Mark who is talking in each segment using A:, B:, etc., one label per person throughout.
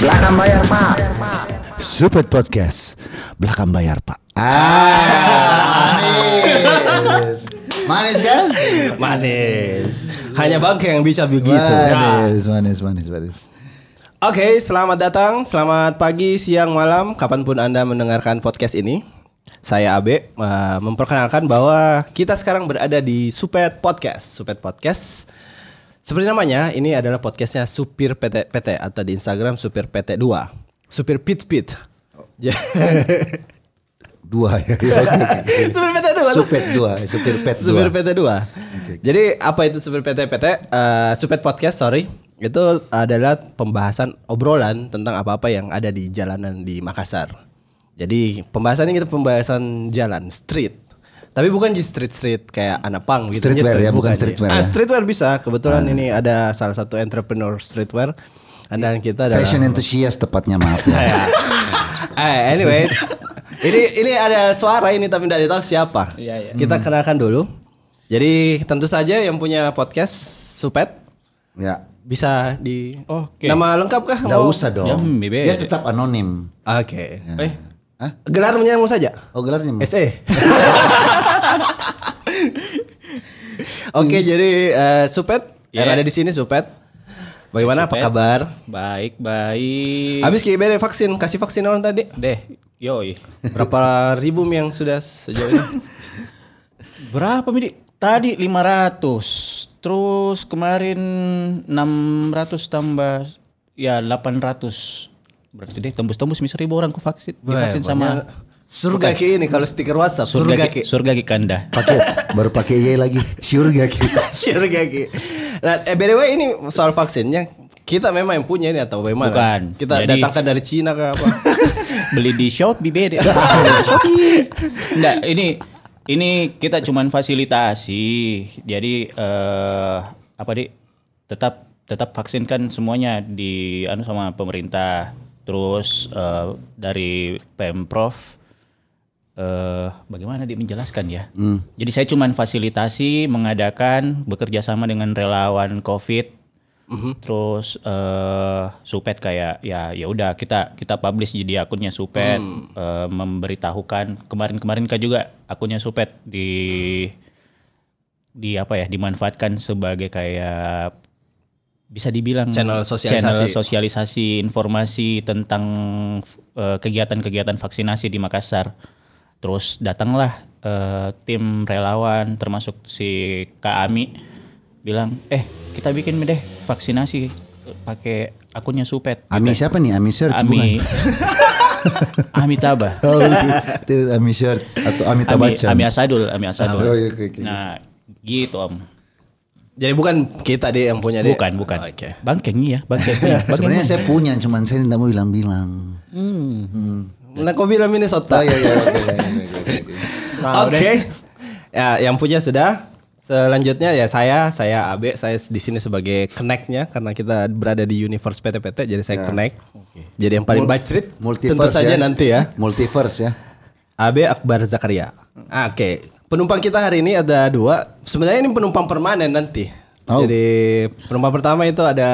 A: Belakang bayar pak. Super podcast belakang bayar pak. Ah,
B: Manis. Manis kan?
C: Manis. Hanya bangke yang bisa begitu. Nah.
B: Gitu, Manis, manis, manis, manis.
C: Oke, selamat datang, selamat pagi, siang, malam, kapanpun anda mendengarkan podcast ini. Saya Abe eh, memperkenalkan bahwa kita sekarang berada di Supet Podcast. Supet Podcast. Seperti namanya, ini adalah podcastnya Supir PT PT atau di Instagram Supir PT 2 Supir Pit Pit.
B: Oh.
C: Ya.
B: Dua ya.
C: Supir PT 2
B: Supet dua, supir pet
C: Supir
B: dua.
C: PT 2. Jadi apa itu Supir PT PT? Eh, Supet Podcast, sorry. Itu adalah pembahasan obrolan tentang apa-apa yang ada di jalanan di Makassar. Jadi pembahasannya kita pembahasan jalan, street. Tapi bukan di street-street kayak anak pang gitu.
B: Streetwear
C: gitu.
B: ya, bukan
C: iya.
B: streetwear
C: Ah,
B: ya. Ah.
C: streetwear bisa. Kebetulan ini ada salah satu entrepreneur streetwear. Dan kita adalah
B: Fashion enthusiast tepatnya maaf ya.
C: Ya. Eh, anyway, ini ini ada suara ini tapi tidak tahu siapa.
D: Iya,
C: Kita
B: Hmm.
C: kenalkan dulu. Jadi tentu saja yang punya podcast Supet
B: Ya.
C: bisa di
D: Oke.
C: nama lengkap kah?
B: Nggak
C: Mau-
B: usah
D: Jangan
B: dong.
D: bebe.
B: Dia tetap anonim.
C: Oke.
D: Eh,
C: Gelar menyamu saja. E.
B: Oh gelarnya mau?
C: SE. Oke,
B: Hmm.
C: jadi eh, Supet yang
D: Yeah.
C: ada di sini Supet. Bagaimana apa
D: Iya. Supet.
C: kabar?
D: baik baik.
C: Habis KIB vaksin, kasih vaksin orang tadi.
D: deh, yoi.
C: Berapa ribu yang sudah sejauh ini?
D: Berapa midi? Tadi 500. Terus kemarin 600 tambah ya 800. Berarti deh tembus-tembus mis ribu orang ku vaksin, divaksin sama
C: surga ki ini kalau stiker WhatsApp surga ki
D: surga ki, surga ki kanda.
B: Pakai baru pakai Y lagi. gitu? Surga kita.
C: surga ki. Nah, eh, by the way ini soal vaksinnya kita memang yang punya ini atau bagaimana?
D: Bukan.
C: Kita
D: Jadi-
C: datangkan dari Cina ke apa?
D: Beli di Shopee beda. Enggak, ini ini kita cuman fasilitasi. Jadi eh apa di tetap tetap vaksinkan semuanya di anu sama pemerintah. Terus eh, dari Pemprov eh bagaimana dia menjelaskan ya. Jadi saya cuman fasilitasi mengadakan bekerja sama dengan relawan Covid.
C: Mm-hmm.
D: Terus eh Supet kayak ya ya udah kita kita publish jadi akunnya Supet
C: Mm.
D: eh, memberitahukan kemarin-kemarin kan juga akunnya Supet di di apa ya dimanfaatkan sebagai kayak bisa dibilang
C: Channel sosialisasi.
D: channel sosialisasi informasi tentang eh, kegiatan-kegiatan vaksinasi di Makassar. Terus datanglah eh, tim relawan termasuk si Kak Ami bilang, "Eh, kita bikin deh vaksinasi pakai akunnya Supet."
B: Ami siapa nih? Ami search bukan?
D: Ami Ami Taba.
B: Oh, tidak Ami search atau Ami
D: Ami,
B: Tabacan.
D: Ami Asadul, Ami Asadul.
B: Oh, iya, oke, oke.
D: Nah, gitu Om.
C: Jadi bukan kita deh yang punya deh.
D: Bukan, bukan.
C: Oke.
D: Bangkeng iya, bangkeng. iya, bangkeng.
B: Sebenarnya saya punya, cuman saya tidak mau bilang-bilang.
C: Nah, kau bilang ini
B: Oh
C: sota.
B: iya iya. oke, oke, oke, oke, oke.
C: Oke. Ya, yang punya sudah. Selanjutnya ya saya, saya Abe, saya di sini sebagai connect-nya karena kita berada di universe PTPT jadi saya connect. Jadi yang paling bacrit tentu
B: Multiverse
C: saja
B: ya.
C: nanti ya.
B: Multiverse ya.
C: AB Akbar Zakaria.
B: Hmm.
C: Ah, Oke, penumpang kita hari ini ada dua. Sebenarnya ini penumpang permanen nanti.
B: Oh.
C: Jadi penumpang pertama itu ada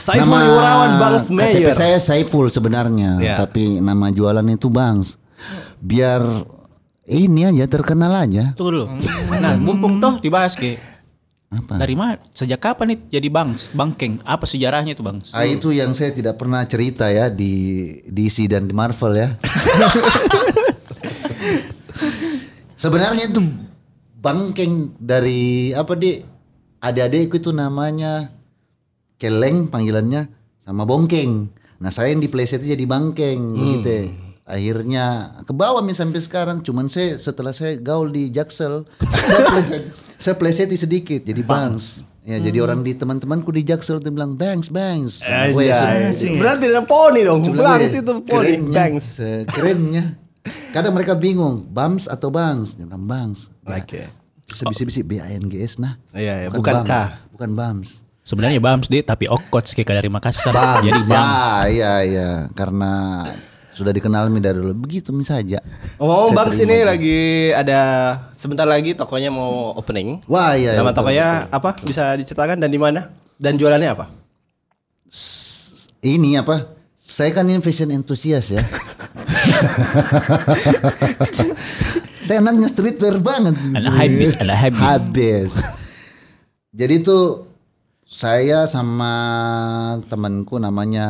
C: Saiful Yurawan Bangs
B: KTP
C: Mayer.
B: saya Saiful sebenarnya,
C: Ya.
B: tapi nama jualan itu Bangs. Biar ini aja terkenal aja.
D: Tunggu dulu. Nah, mumpung toh dibahas Ki.
B: Apa?
D: Dari mana? Sejak kapan nih jadi bangs, bangkeng? Apa sejarahnya itu bangs?
B: Ah, itu yang saya tidak pernah cerita ya di DC dan di Marvel ya. Sebenarnya itu bangkeng dari apa di adik-adikku itu namanya Keleng panggilannya sama Bongkeng. Nah saya yang di playset jadi Bangkeng
C: Hmm.
B: gitu. Akhirnya ke bawah nih sampai sekarang. Cuman saya setelah saya gaul di Jaksel, saya, play- saya playseti sedikit jadi Bangs. Ya jadi orang di teman-temanku di Jaksel dia bilang Bangs Bangs.
C: Hmm. Eh,
B: Gue ya
C: ya,
B: sudah-
C: Berarti ada poni dong.
B: Cuma
C: Bangs
B: gue
C: itu poni.
B: kerennya,
C: Bangs.
B: se- Kerennya. Kadang mereka bingung, bams atau bangs? Dia bilang bangs. Nah,
C: Oke.
B: Bisa bisa B A N G S nah.
C: Oh. Iya, iya, bukan
B: bams.
C: K.
B: Bukan bams.
D: Sebenarnya Bams deh, tapi Okots kayak dari Makassar.
B: Bams.
D: Jadi Bams.
B: Ya, iya iya karena sudah dikenal mi dari dulu. Begitu mi saja.
C: Oh,
B: Saya
C: Bang
B: terima
C: sini
B: aja.
C: lagi ada sebentar lagi tokonya mau opening.
B: Wah, iya.
C: Nama
B: betul,
C: tokonya apa? Bisa diceritakan dan di mana? Dan jualannya apa?
B: betul. ini apa? Saya kan ini fashion enthusiast ya. saya anaknya streetwear banget.
D: Anak habis, anak habis.
B: Habis. Jadi tuh saya sama temanku namanya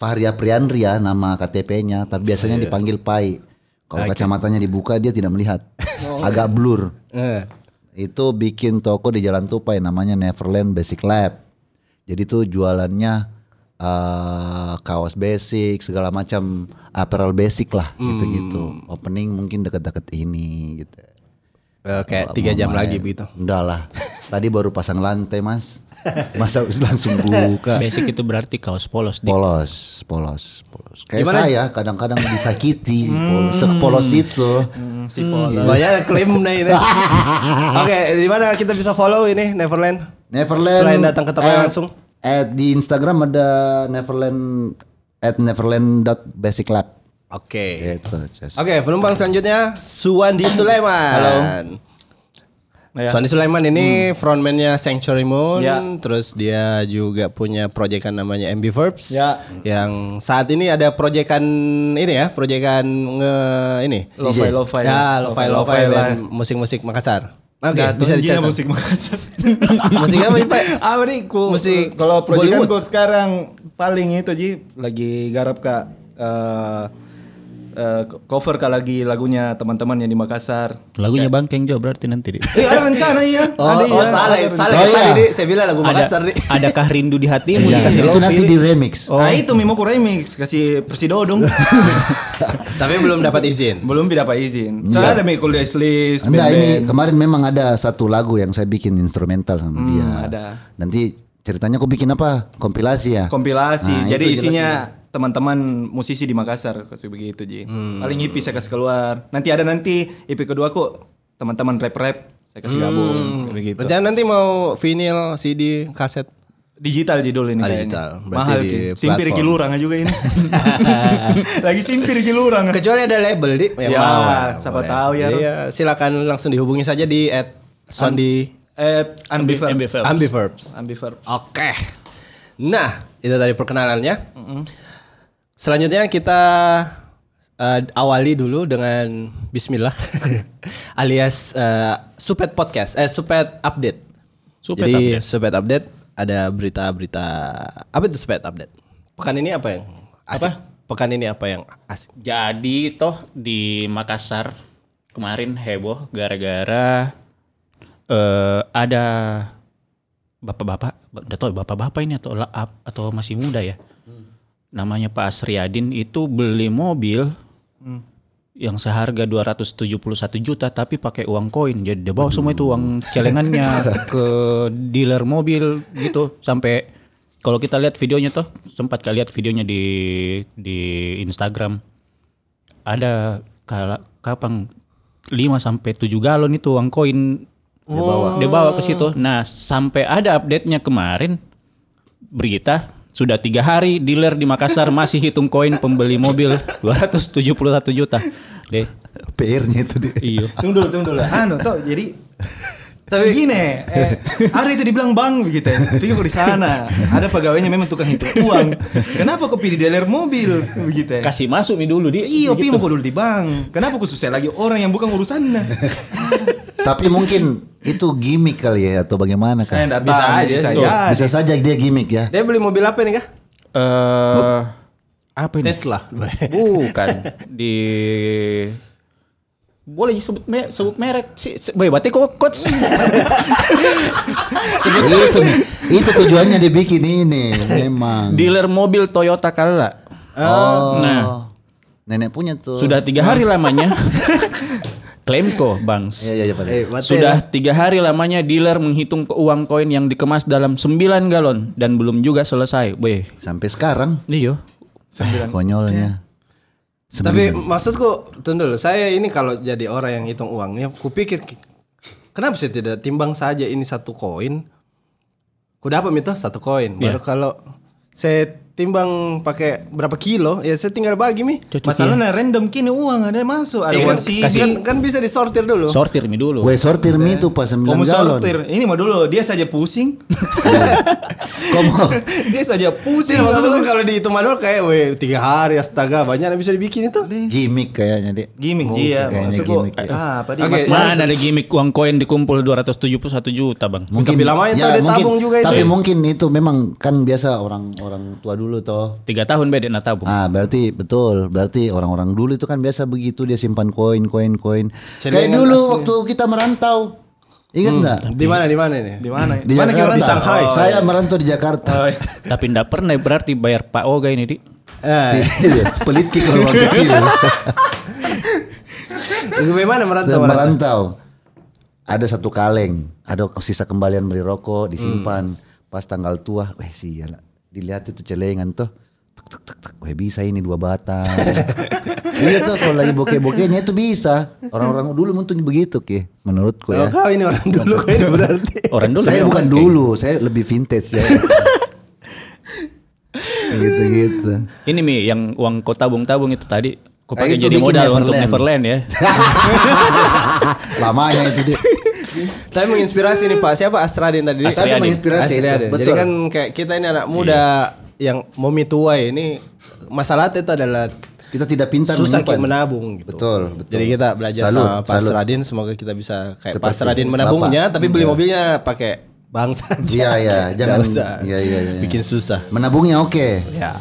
B: Fahri Apriandri ya nama KTP-nya, tapi
D: Iya.
B: biasanya dipanggil Pai. Kalau kacamatanya dibuka dia tidak melihat.
D: Oh.
B: Agak blur.
C: Eh,
B: Itu bikin toko di Jalan Tupai namanya Neverland Basic Lab. Jadi tuh jualannya eh, kaos basic, segala macam apparel basic lah gitu-gitu. Opening mungkin deket-deket ini gitu.
C: eh, kayak tiga jam lagi begitu.
B: Udah lah. Tadi baru pasang lantai, Mas. Masa langsung buka.
D: Basic itu berarti kaos polos di
B: Polos, polos, polos. Kayak saya kadang-kadang disakiti, polos, sepolos itu.
E: si Polo.
C: Banyak klaim nih ini. Oke, di mana kita bisa follow ini Neverland?
B: Neverland.
C: Selain datang ke tempat
B: at-
C: langsung.
B: At di Instagram ada Neverland at neverland.basiklab.
C: Oke.
B: Gitu, Ces.
C: Oke, penumpang selanjutnya Suwandi Sulaiman. Halo.
E: Ya.
C: Suwandi Sulaiman ini frontman-nya Sanctuary Moon,
E: Ya.
C: terus dia juga punya proyekan namanya Ambiverbs
E: Ya.
C: yang saat ini ada proyekan ini ya, proyekan nge ini.
E: Lo-fi, lo-fi.
C: Ya, lo-fi lo-fi
E: Lo-fi
C: dan musik-musik Makassar. Oke,
E: Gak
C: bisa
E: bisa
C: dicatat.
E: musik Makassar.
C: musik apa nih, Pak?
E: Apa nih? Ku,
C: Musik
E: kalau proyekan
C: Bollywood.
E: gue sekarang paling itu Ji lagi garap kak eh, eh, cover kak lagi lagunya teman-teman yang di Makassar.
D: Lagunya Bangkeng Jo berarti nanti. Di.
E: Eh, ada rencana iya.
C: Oh,
E: ada,
C: oh
E: iya.
C: salah,
E: Ada
C: salah.
B: Oh,
C: Kita
B: iya.
C: tadi saya bilang lagu Makassar
D: Ada,
C: nih.
D: adakah rindu di hatimu
B: Iya,
D: dikasih
B: itu
D: lofi?
B: nanti di
C: Oh,
B: remix.
E: Nah itu Mimo ku remix kasih Persidodong
C: Tapi belum dapat izin.
E: belum dapat izin.
C: Iya.
E: Soalnya ada Mikul Deslis,
B: Enggak ini
E: band-band.
B: kemarin memang ada satu lagu yang saya bikin instrumental sama
C: Hmm,
B: dia.
E: ada.
B: Nanti ceritanya aku bikin apa? Kompilasi ya.
E: kompilasi.
B: Nah,
E: Jadi
B: itu jelas
E: isinya teman-teman musisi di Makassar kasih begitu Ji. Paling IP saya kasih keluar. Nanti ada nanti IP kedua aku teman-teman rap-rap saya kasih
C: Hmm.
E: gabung begitu.
C: Rencana nanti mau vinyl, CD, kaset.
E: Digital Ji dulu ini
C: Ah,
E: kayaknya.
C: digital. Berarti
E: Mahal
C: di
E: Ji. Simpir
C: platform.
E: kilurang juga ini. Lagi simpir kilurang.
C: Kecuali ada label di.
E: Ya, siapa tahu ya.
C: Iya, silakan langsung dihubungi saja di at Sondi
E: Eh ambiverb.
D: Ambiverb.
C: Ambiverbs.
E: Ambiverb.
C: Oke. Nah, itu tadi perkenalannya. Selanjutnya kita eh, awali dulu dengan Bismillah, alias eh, Supet Podcast, eh Supet Update.
D: Supet
C: Jadi Supet Update ada berita-berita apa itu Supet Update? Pekan ini apa yang asik? Pekan ini apa yang asik?
D: Jadi toh di Makassar kemarin heboh gara-gara eh ada bapak-bapak, enggak tahu ya, bapak-bapak ini atau la- ap- atau masih muda ya. Namanya Pak Asriadin itu beli mobil yang seharga 271 juta tapi pakai uang koin. Jadi dia bawa semua itu uang celengannya ke dealer mobil gitu sampai kalau kita lihat videonya toh sempat kalian lihat videonya di di Instagram ada kala, kapang 5 sampai 7 galon itu uang koin dia bawa dia bawa ke situ. Nah, sampai ada update-nya kemarin berita sudah tiga hari dealer di Makassar masih hitung koin pembeli mobil 271 juta. iya. Deh,
B: PR-nya itu dia.
C: Iya.
D: iyo.
E: Tunggu dulu, tunggu dulu. Anu tuh jadi tapi gini, eh, ada itu dibilang bang begitu ya. Tapi kok di sana ada pegawainya memang tukang hitung uang. Kenapa kok pilih dealer mobil begitu ya?
D: Kasih masuk nih dulu di.
E: Iya,
C: gitu.
E: pi mau kok dulu di bank. Kenapa kok susah lagi orang yang bukan urusannya?
B: Tapi mungkin itu gimmick kali ya atau bagaimana
E: Eh,
B: kan?
E: datang,
C: Bisa aja,
E: bisa
C: tuh.
E: aja.
B: Bisa saja dia gimmick ya.
C: Dia beli mobil apa nih kah?
D: Eh, apa ini?
C: Tesla.
D: Bukan di boleh sebut me- sebut merek sih. Se- Boy, berarti kok coach.
B: itu nih, itu tujuannya dibikin ini memang.
D: Dealer mobil Toyota Calla.
B: Oh.
D: Nah.
B: Nenek punya tuh.
D: Sudah tiga hari lamanya. Klaimko, Bang.
B: Iya iya iya Pak.
C: Eh,
D: Sudah tiga hari lamanya dealer menghitung ke uang koin yang dikemas dalam 9 galon dan belum juga selesai. Weh,
B: Sampai sekarang
D: iyo.
B: konyolnya.
C: Tapi maksudku, tunggu dulu, saya ini kalau jadi orang yang hitung uangnya, kupikir kenapa sih tidak timbang saja ini satu koin? Kuda apa itu satu koin. Baru kalau saya timbang pakai berapa kilo ya saya tinggal bagi mi
D: Cocok,
E: Masalahnya random kini uang ada masuk, ada
C: Eh, kan,
E: uang CD.
C: kan, kan bisa disortir dulu
D: Sortir mi dulu.
B: Gue sortir mie tuh pas 9
E: Kamu
B: galon.
E: sortir. Ini mah dulu dia saja pusing.
B: Komo.
E: dia saja pusing.
C: Tidak, maksudnya tuh kalau dihitung manual kayak weh tiga hari astaga banyak yang bisa dibikin itu
B: Gimik kayaknya, Dek.
C: Oh,
E: Gimik
B: Mungkin
E: dia
B: kayaknya
E: iya, maksud gua.
B: gimik dia.
E: Ah, apa dia
C: Oke,
E: masih-
D: Mana ada gimmick uang koin dikumpul 271 juta bang?
C: Tapi lamanya tuh ada tabung juga itu.
B: Tapi ya, mungkin itu memang kan biasa orang-orang tua dulu toh.
D: Tiga tahun beda natabung.
B: Ah, berarti betul. Berarti orang-orang dulu itu kan biasa begitu dia simpan koin, koin, koin. Kayak
C: Celengan
B: dulu
C: asli.
B: waktu kita merantau. Ingat nggak?
C: di mana di mana ini
E: Di mana?
B: Di
E: Hmm. mana
B: Jakarta.
E: kita di Shanghai?
B: Oh, Saya merantau di Jakarta.
E: Oh, iya.
D: Tapi ndak pernah berarti bayar Pak Oga ini di. Iya.
C: eh
B: Iya. Pelit ki kalau orang kecil. ya.
C: gimana merantau
B: Dan
C: merantau
B: merantau. Ada satu kaleng, ada sisa kembalian beli rokok disimpan.
D: Hmm.
B: Pas tanggal tua, weh sih dilihat itu celengan tuh. Tek, tek, tek, tek. Weh bisa ini dua batang. iya tuh kalau lagi bokeh-bokehnya itu bisa. Orang-orang dulu mungkin begitu ki, menurutku
C: Kalau
B: ya.
C: kau ini orang dulu kayaknya berarti
D: Orang kan dulu. ya.
B: saya
D: memang
B: bukan
D: kayak
B: dulu, saya lebih vintage ya. gitu-gitu.
D: Ini mi yang uang kau tabung-tabung itu tadi kau
B: Ah,
D: pakai
B: itu
D: jadi
B: bikin
D: modal untuk
B: Neverland.
D: Neverland ya.
B: Lamanya itu dia.
C: Tapi menginspirasi nih Pak. Siapa Astradi yang tadi?
D: Asri Tapi Adi.
B: menginspirasi
C: Asri
B: itu,
C: Adi. Jadi
B: betul.
C: kan kayak kita ini anak muda yang momi tua ini masalah itu adalah
B: Kita tidak pintar
C: susah
B: menyimpan.
C: kayak menabung gitu.
B: Betul, betul.
C: Jadi kita belajar
B: Salut,
C: sama Pak
B: salut.
C: Asradin semoga kita bisa kayak Pak
B: Seperti
C: Asradin menabungnya
B: Bapak.
C: tapi beli mobilnya pakai bank saja.
B: Iya iya,
C: Nggak
B: jangan.
C: usah.
B: Iya iya iya.
C: Bikin susah.
B: Menabungnya oke.
C: Ya.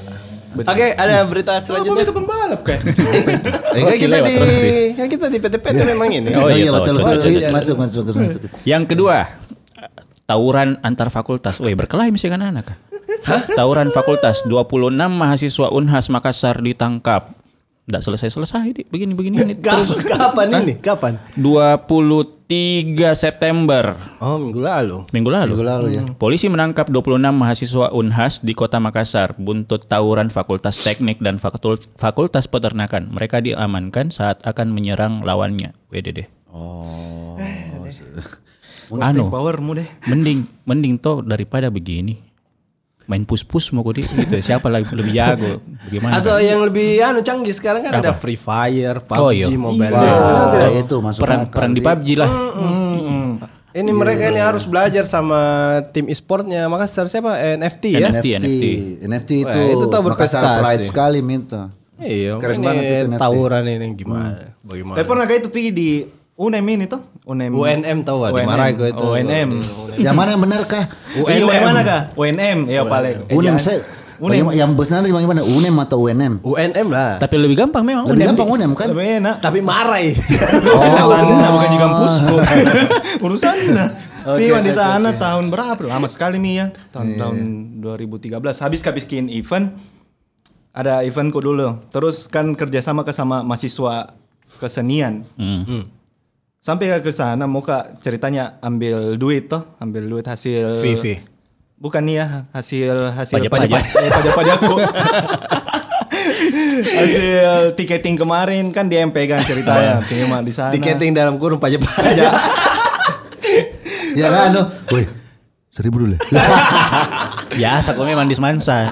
C: Oke, ada berita
E: Apa
C: selanjutnya.
E: itu pembalap kan?
C: Eh, kan
D: Terus
C: kita
D: lewat,
C: di
D: terus sih.
C: kan kita di PT-PT memang ini.
D: Oh, iya,
B: betul
D: tahu,
B: betul. Iya,
D: tahu, tahu.
B: Masuk masuk masuk. masuk.
D: Yang kedua, tawuran antar fakultas. Woi, berkelahi mesti kan anak. kah? Hah? Tawuran fakultas 26 mahasiswa Unhas Makassar ditangkap. Ndak selesai-selesai di begini-begini ini terus.
C: Kapan, kapan ini? Kapan?
D: 23 September
C: Oh, minggu lalu.
D: Minggu lalu. ya. Hmm. Polisi menangkap 26 mahasiswa Unhas di Kota Makassar buntut tawuran Fakultas Teknik dan Fakul- Fakultas Peternakan. Mereka diamankan saat akan menyerang lawannya. WDD.
E: Anu. Powermu deh.
D: Mending mending toh daripada begini. Main pus-pus mau kodi gitu. Siapa lagi lebih jago? Bagaimana?
C: Atau yang lebih anu canggih sekarang kan ada Free Fire, PUBG,
D: Oh, iya.
C: Mobile Legends.
B: Wah, itu masuk
D: perang
B: akal,
D: perang di
B: Dik.
D: PUBG lah.
E: Mm,
C: Ini mereka ini harus belajar sama tim e-sportnya Makassar siapa? Eh, NFT ya?
D: NFT, NFT.
B: NFT
C: Wah,
B: itu,
C: itu tuh
B: Makassar
C: berprestasi.
B: pride sekali minta.
C: Iya,
B: Keren
C: ini
B: banget itu NFT.
C: tawuran ini gimana? Bagaimana?
E: Tapi pernah kayak Eh, itu pergi di UNM ini tuh? UNM.
C: UNM tau gak?
E: UNM. Oh,
C: Dimarahin gue itu.
E: UNM.
B: Yang mana yang benar kah?
E: Pergi UNM mana kah? UNM ya
C: Eh,
E: paling.
B: UNM
C: Iya,
B: saya. Oh,
E: UNM.
B: Yang- Yang besar dari mana? UNM atau UNM?
C: UNM lah.
E: mm.
D: Tapi lebih gampang memang.
B: Lebih
D: UNM.
B: gampang UNM kan?
E: Tapi enak.
C: Tapi marai.
E: Oh. urusannya bukan di kampusku. urusannya. Piwan di sana tahun berapa? Lama sekali Mi ya. Tahun tahun 2013 habis kami bikin event. Ada eventku dulu. Terus kan kerjasama ke sama mahasiswa kesenian. Sampai ke sana mau kak ceritanya ambil duit toh, ambil duit hasil
C: Vivi.
E: Bukan nih ya hasil hasil
D: Pajak-pajak.
E: pajak eh, pajakku. hasil tiketing kemarin kan dia yang pegang ceritanya cuma di sana
C: Nah. Tiketing dalam kurung pajak-pajak.
B: Ya kan? anu. Woi, seribu dulu.
D: Ya, sekolah memang di Semansa.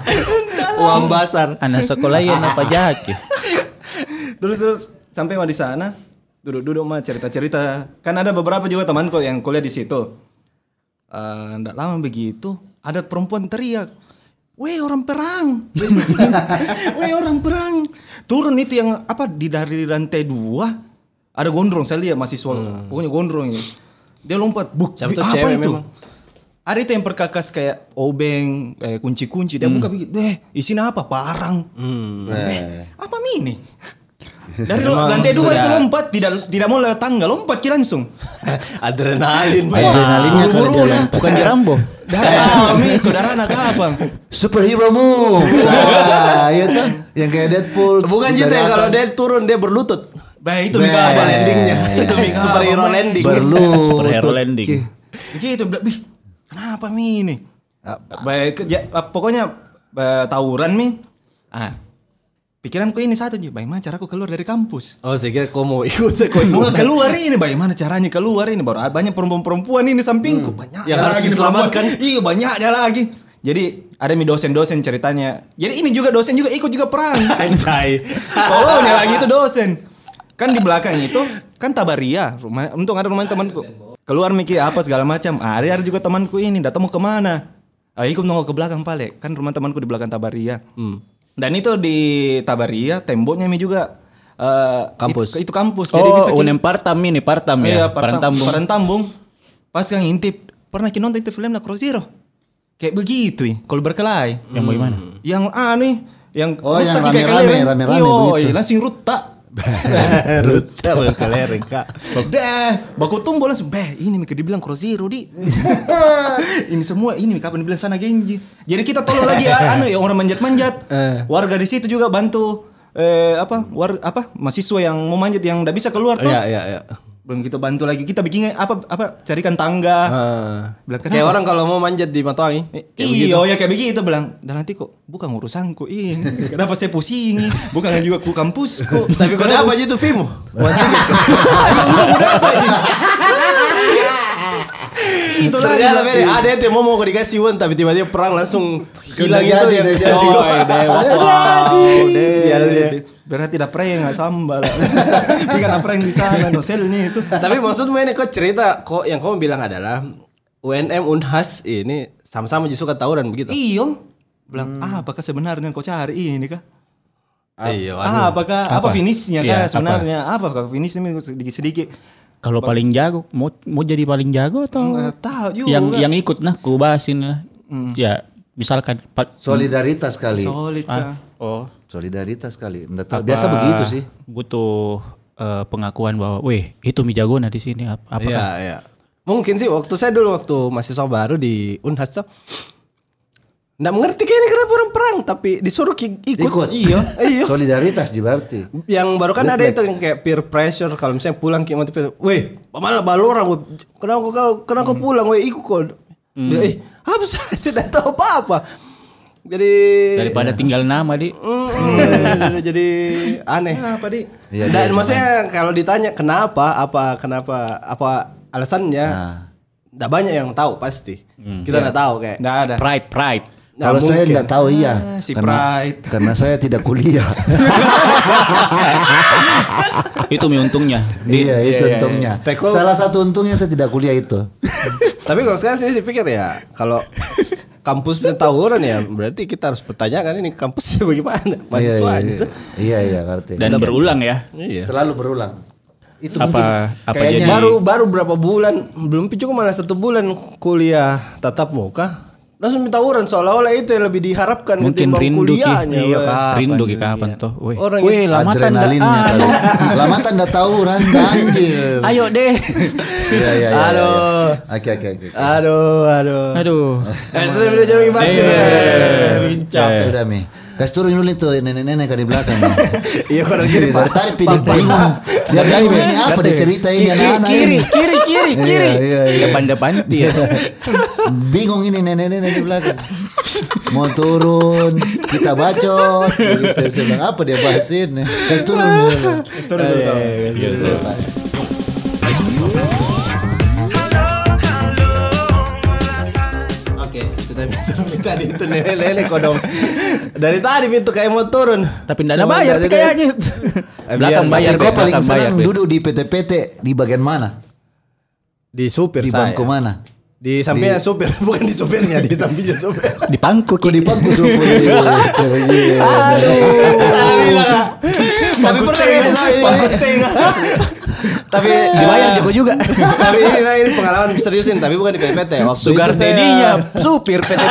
C: Uang basar.
D: Anak sekolah ya apa jahat.
E: terus terus sampai mah di sana duduk-duduk mah cerita-cerita kan ada beberapa juga temanku yang kuliah di situ Eh, ndak lama begitu ada perempuan teriak Weh orang perang, weh orang perang. Turun itu yang apa di dari lantai dua ada gondrong saya lihat mahasiswa pokoknya gondrong ini. Dia lompat buk.
C: Hmm. Siapa
E: wih,
C: tuh
E: apa
C: cewek
E: itu?
C: memang?
E: Ada itu yang perkakas kayak obeng, eh, kunci-kunci.
C: Hmm.
E: Dia buka begitu, eh isinya apa? Parang. Eh, apa mi ini? Dari lo-
C: Memang
E: lantai dua
C: sudah-
E: itu lompat, tidak tidak mau lewat tangga, lompat ki langsung.
C: Adrenalin. Pak.
B: Adrenalinnya kalau dia
E: Buru-buru ya.
D: Bukan di Rambo.
E: Dah, mi saudara anak abang.
B: Superhero move. Nah, iya tuh. Yang kayak Deadpool.
C: Bukan
B: dari
C: gitu ya kalau
B: atas.
C: dia turun dia berlutut.
E: Bah itu
B: Beh.
E: mi kabar
B: Landingnya.
E: Itu mi kabar,
C: iya, Superhero
E: Bang.
C: landing.
B: Berlutut.
D: Superhero landing.
B: Ki.
E: Begitu, bilang, "Bih, kenapa mi ini?
B: Ah.
E: Baik, kerja- ah, pokoknya bah, tawuran mi. Ah, pikiranku ini satu aja, bagaimana caraku keluar dari kampus?
C: Oh, saya kira kau mau ikut kau ikut.
E: Mau keluar ini, bagaimana caranya keluar ini? Baru ada banyak perempuan-perempuan ini di sampingku, banyak
C: Yang harus diselamatkan.
E: Iya, banyaknya lagi. Jadi ada mi dosen-dosen ceritanya. Jadi ini juga dosen juga ikut juga perang.
C: Anjay.
E: Tolongnya lagi itu dosen. Kan di belakang itu kan Tabaria, rumah untung ada rumah temanku. Keluar mikir apa segala macam. Ah, Ada ada juga temanku ini, datang mau kemana? Ah, ikut nongol ke belakang pale. Kan rumah temanku di belakang Tabaria. Dan itu di Tabaria temboknya mi juga eh,
C: Kampus.
E: Itu, itu kampus.
D: Oh,
E: kita-
D: unem partam ini partam ya.
E: Iya, Parang
D: Parantambung.
E: Tambung. Pas kang intip, pernah kita nonton itu film lah Cross Zero. Kayak begitu, ya, kalau berkelahi.
D: Yang bagaimana?
E: Yang aneh, yang
B: Oh, yang
E: rutak kayak
B: rame-rame,
E: kelereng.
B: rame-rame
E: Yoi,
B: begitu.
E: langsung rutak.
C: Ruta berkelereng kak.
E: Dah, baku tumbol langsung beh. Ini Mika dibilang Cross Zero di. ini semua ini Mika, kapan dibilang sana Genji. Jadi kita tolong lagi ya, anu yang orang manjat-manjat. Warga di situ juga bantu eh apa war apa mahasiswa yang mau manjat yang nggak bisa keluar tuh.
C: Iya iya iya.
E: Belum kita bantu lagi. Kita bikin apa apa carikan tangga.
C: Ah.
E: Bilang, kenapa
C: Kayak orang kalau mau manjat di Matoangi. eh, kayak begitu.
E: Iya, ya kayak begitu bilang. Dan nanti kok bukan urusanku ini. Kenapa saya pusing? iya? Bukan juga ku kampusku.
C: Tapi kau dapat aja tuh Vimo.
E: gitu. itu lah.
C: Ternyata Ferry, ada yang mau mau dikasih won tapi tiba-tiba perang langsung hilang
B: Udah
C: gitu
B: jadi,
C: ya.
B: udah jadi.
C: Oh, Dewa. Wow, Dewa. Sial dia.
E: Berarti ada prank nggak sambal. Ini kan prank di sana noselnya itu.
C: Tapi maksudmu ini kok cerita kok yang kamu bilang adalah UNM Unhas ini sama-sama justru ketawuran begitu.
E: Iya. Bilang,
C: Hmm.
E: ah, apakah sebenarnya kau cari ini kah?
C: Iya,
E: Ah, apakah apa,
D: Apa?
E: finishnya
D: Iya,
E: kah
D: apa?
E: sebenarnya? Apa? Apakah finishnya sedikit-sedikit?
D: Kalau paling jago, mau mau jadi paling jago
C: Hmm.
D: atau
E: Nggak tahu juga. Mm.
D: yang yang ikut nah ku bahasin lah. Ya, misalkan Mm. pa-
B: Solidaritas kali.
E: solid kah?
D: oh
B: Solidaritas kali. Nggak tahu. Biasa begitu sih.
D: butuh eh, pengakuan bahwa weh itu mi jagona di sini ap- apa
C: Iya, iya. Mungkin sih waktu saya dulu waktu mahasiswa baru di Unhas tuh nggak mengerti kayaknya kenapa orang perang tapi disuruh ki- ikut.
B: Ikut.
C: Iya, iya.
B: Solidaritas di berarti.
C: Yang baru kan ada itu yang kayak peer pressure kalau misalnya pulang kayak motivasi, "Weh, pamala balorang, weh. kenapa kau kau- kenapa
B: Hmm.
C: kau pulang, weh, ikut kau." Dia, "Eh, apa sih? Saya tidak tahu apa-apa." Jadi
B: Iya.
D: daripada tinggal nama di
C: Mm, jadi aneh. Kenapa di?
B: Hmm. Iya,
C: Dan
B: iya,
C: maksudnya kalau ditanya kenapa, apa kenapa, apa alasannya?
B: Nah.
C: Nggak banyak yang tahu pasti. Kita nggak tahu kayak.
E: Nggak ada.
D: pride pride
B: Hmm. Iya.
C: nggak
B: Kalau saya
C: mungkin.
B: nggak tahu iya.
E: Ah, si
B: karena,
E: pride.
B: karena saya tidak kuliah.
D: itu mi untungnya
B: iya itu untungnya.
C: Teko-
B: Salah satu untungnya saya tidak kuliah itu.
C: Tapi kalau sekarang sih dipikir ya kalau kampusnya tawuran ya berarti kita harus pertanyakan ini kampusnya bagaimana mahasiswa
B: iya,
C: gitu.
B: Iya iya ngerti.
D: dan berulang ya
C: Iya.
B: Selalu berulang. Itu
D: Apa-
B: mungkin
D: apa
B: kayaknya
D: jadi-
C: Baru baru berapa bulan belum cukup malah satu bulan kuliah tatap muka langsung tawuran seolah-olah itu yang lebih diharapkan
D: mungkin
C: ketimbang
D: rindu ki
C: kuliahnya.
D: Iya,
C: weh.
D: kapan, rindu ki kapan toh weh
C: Orang
D: weh
C: yang
D: lamatan dah.
B: adrenalinnya.
D: Ah,
B: kali. Lamatan enggak tahu randa anjir.
D: ayo deh
B: Iya iya iya.
C: Aduh.
B: iya, iya. Oke oke oke. oke.
C: Aduh, aduh.
D: aduh
C: Eh, sudah sudah jauh basket.
D: Eh.
C: eh. Bincang.
D: Iya.
B: Sudah mi. Kasih turun dulu itu nenek-nenek kan di belakang. Mi.
C: Iya, kalau gini
B: Dari tadi pindah bingung. Dia bingung ini apa dia cerita ini anak-anak ini.
D: kiri kiri kiri Ya, kiri
B: Iya, iya, iya.
D: depan depan dia
B: Bingung ini nenek-nenek di belakang. Mau turun, kita bacot. Gitu. Saya bilang, apa dia bahasin? Kasih turun dulu. Iya,
C: Oke, sudah pintu tadi itu nenek-nenek kodong. Dari tadi pintu kayak mau turun.
D: tapi ndak ada bayar
B: gitu.
C: Cuma-
D: kayaknya
C: Eh,
D: belakang
C: biar-
D: bayar
B: Tapi
D: deh,
B: kau paling
D: belakang bayar
B: senang
D: deh.
B: duduk di PT-PT di bagian mana?
C: Di supir
B: Di
C: saya.
B: bangku mana?
C: Di sampingnya supir, bukan di supirnya, di sampingnya supir.
D: di pangku
B: Kau di bangku supir. Iya.
C: Tapi pernah kayak- tapi
D: Dibayar
C: eh,
D: Joko juga.
C: tapi ini, nah, ini pengalaman seriusin tapi bukan di PT waktu
D: Sugar
C: itu saya-
D: daddy-nya, supir PT.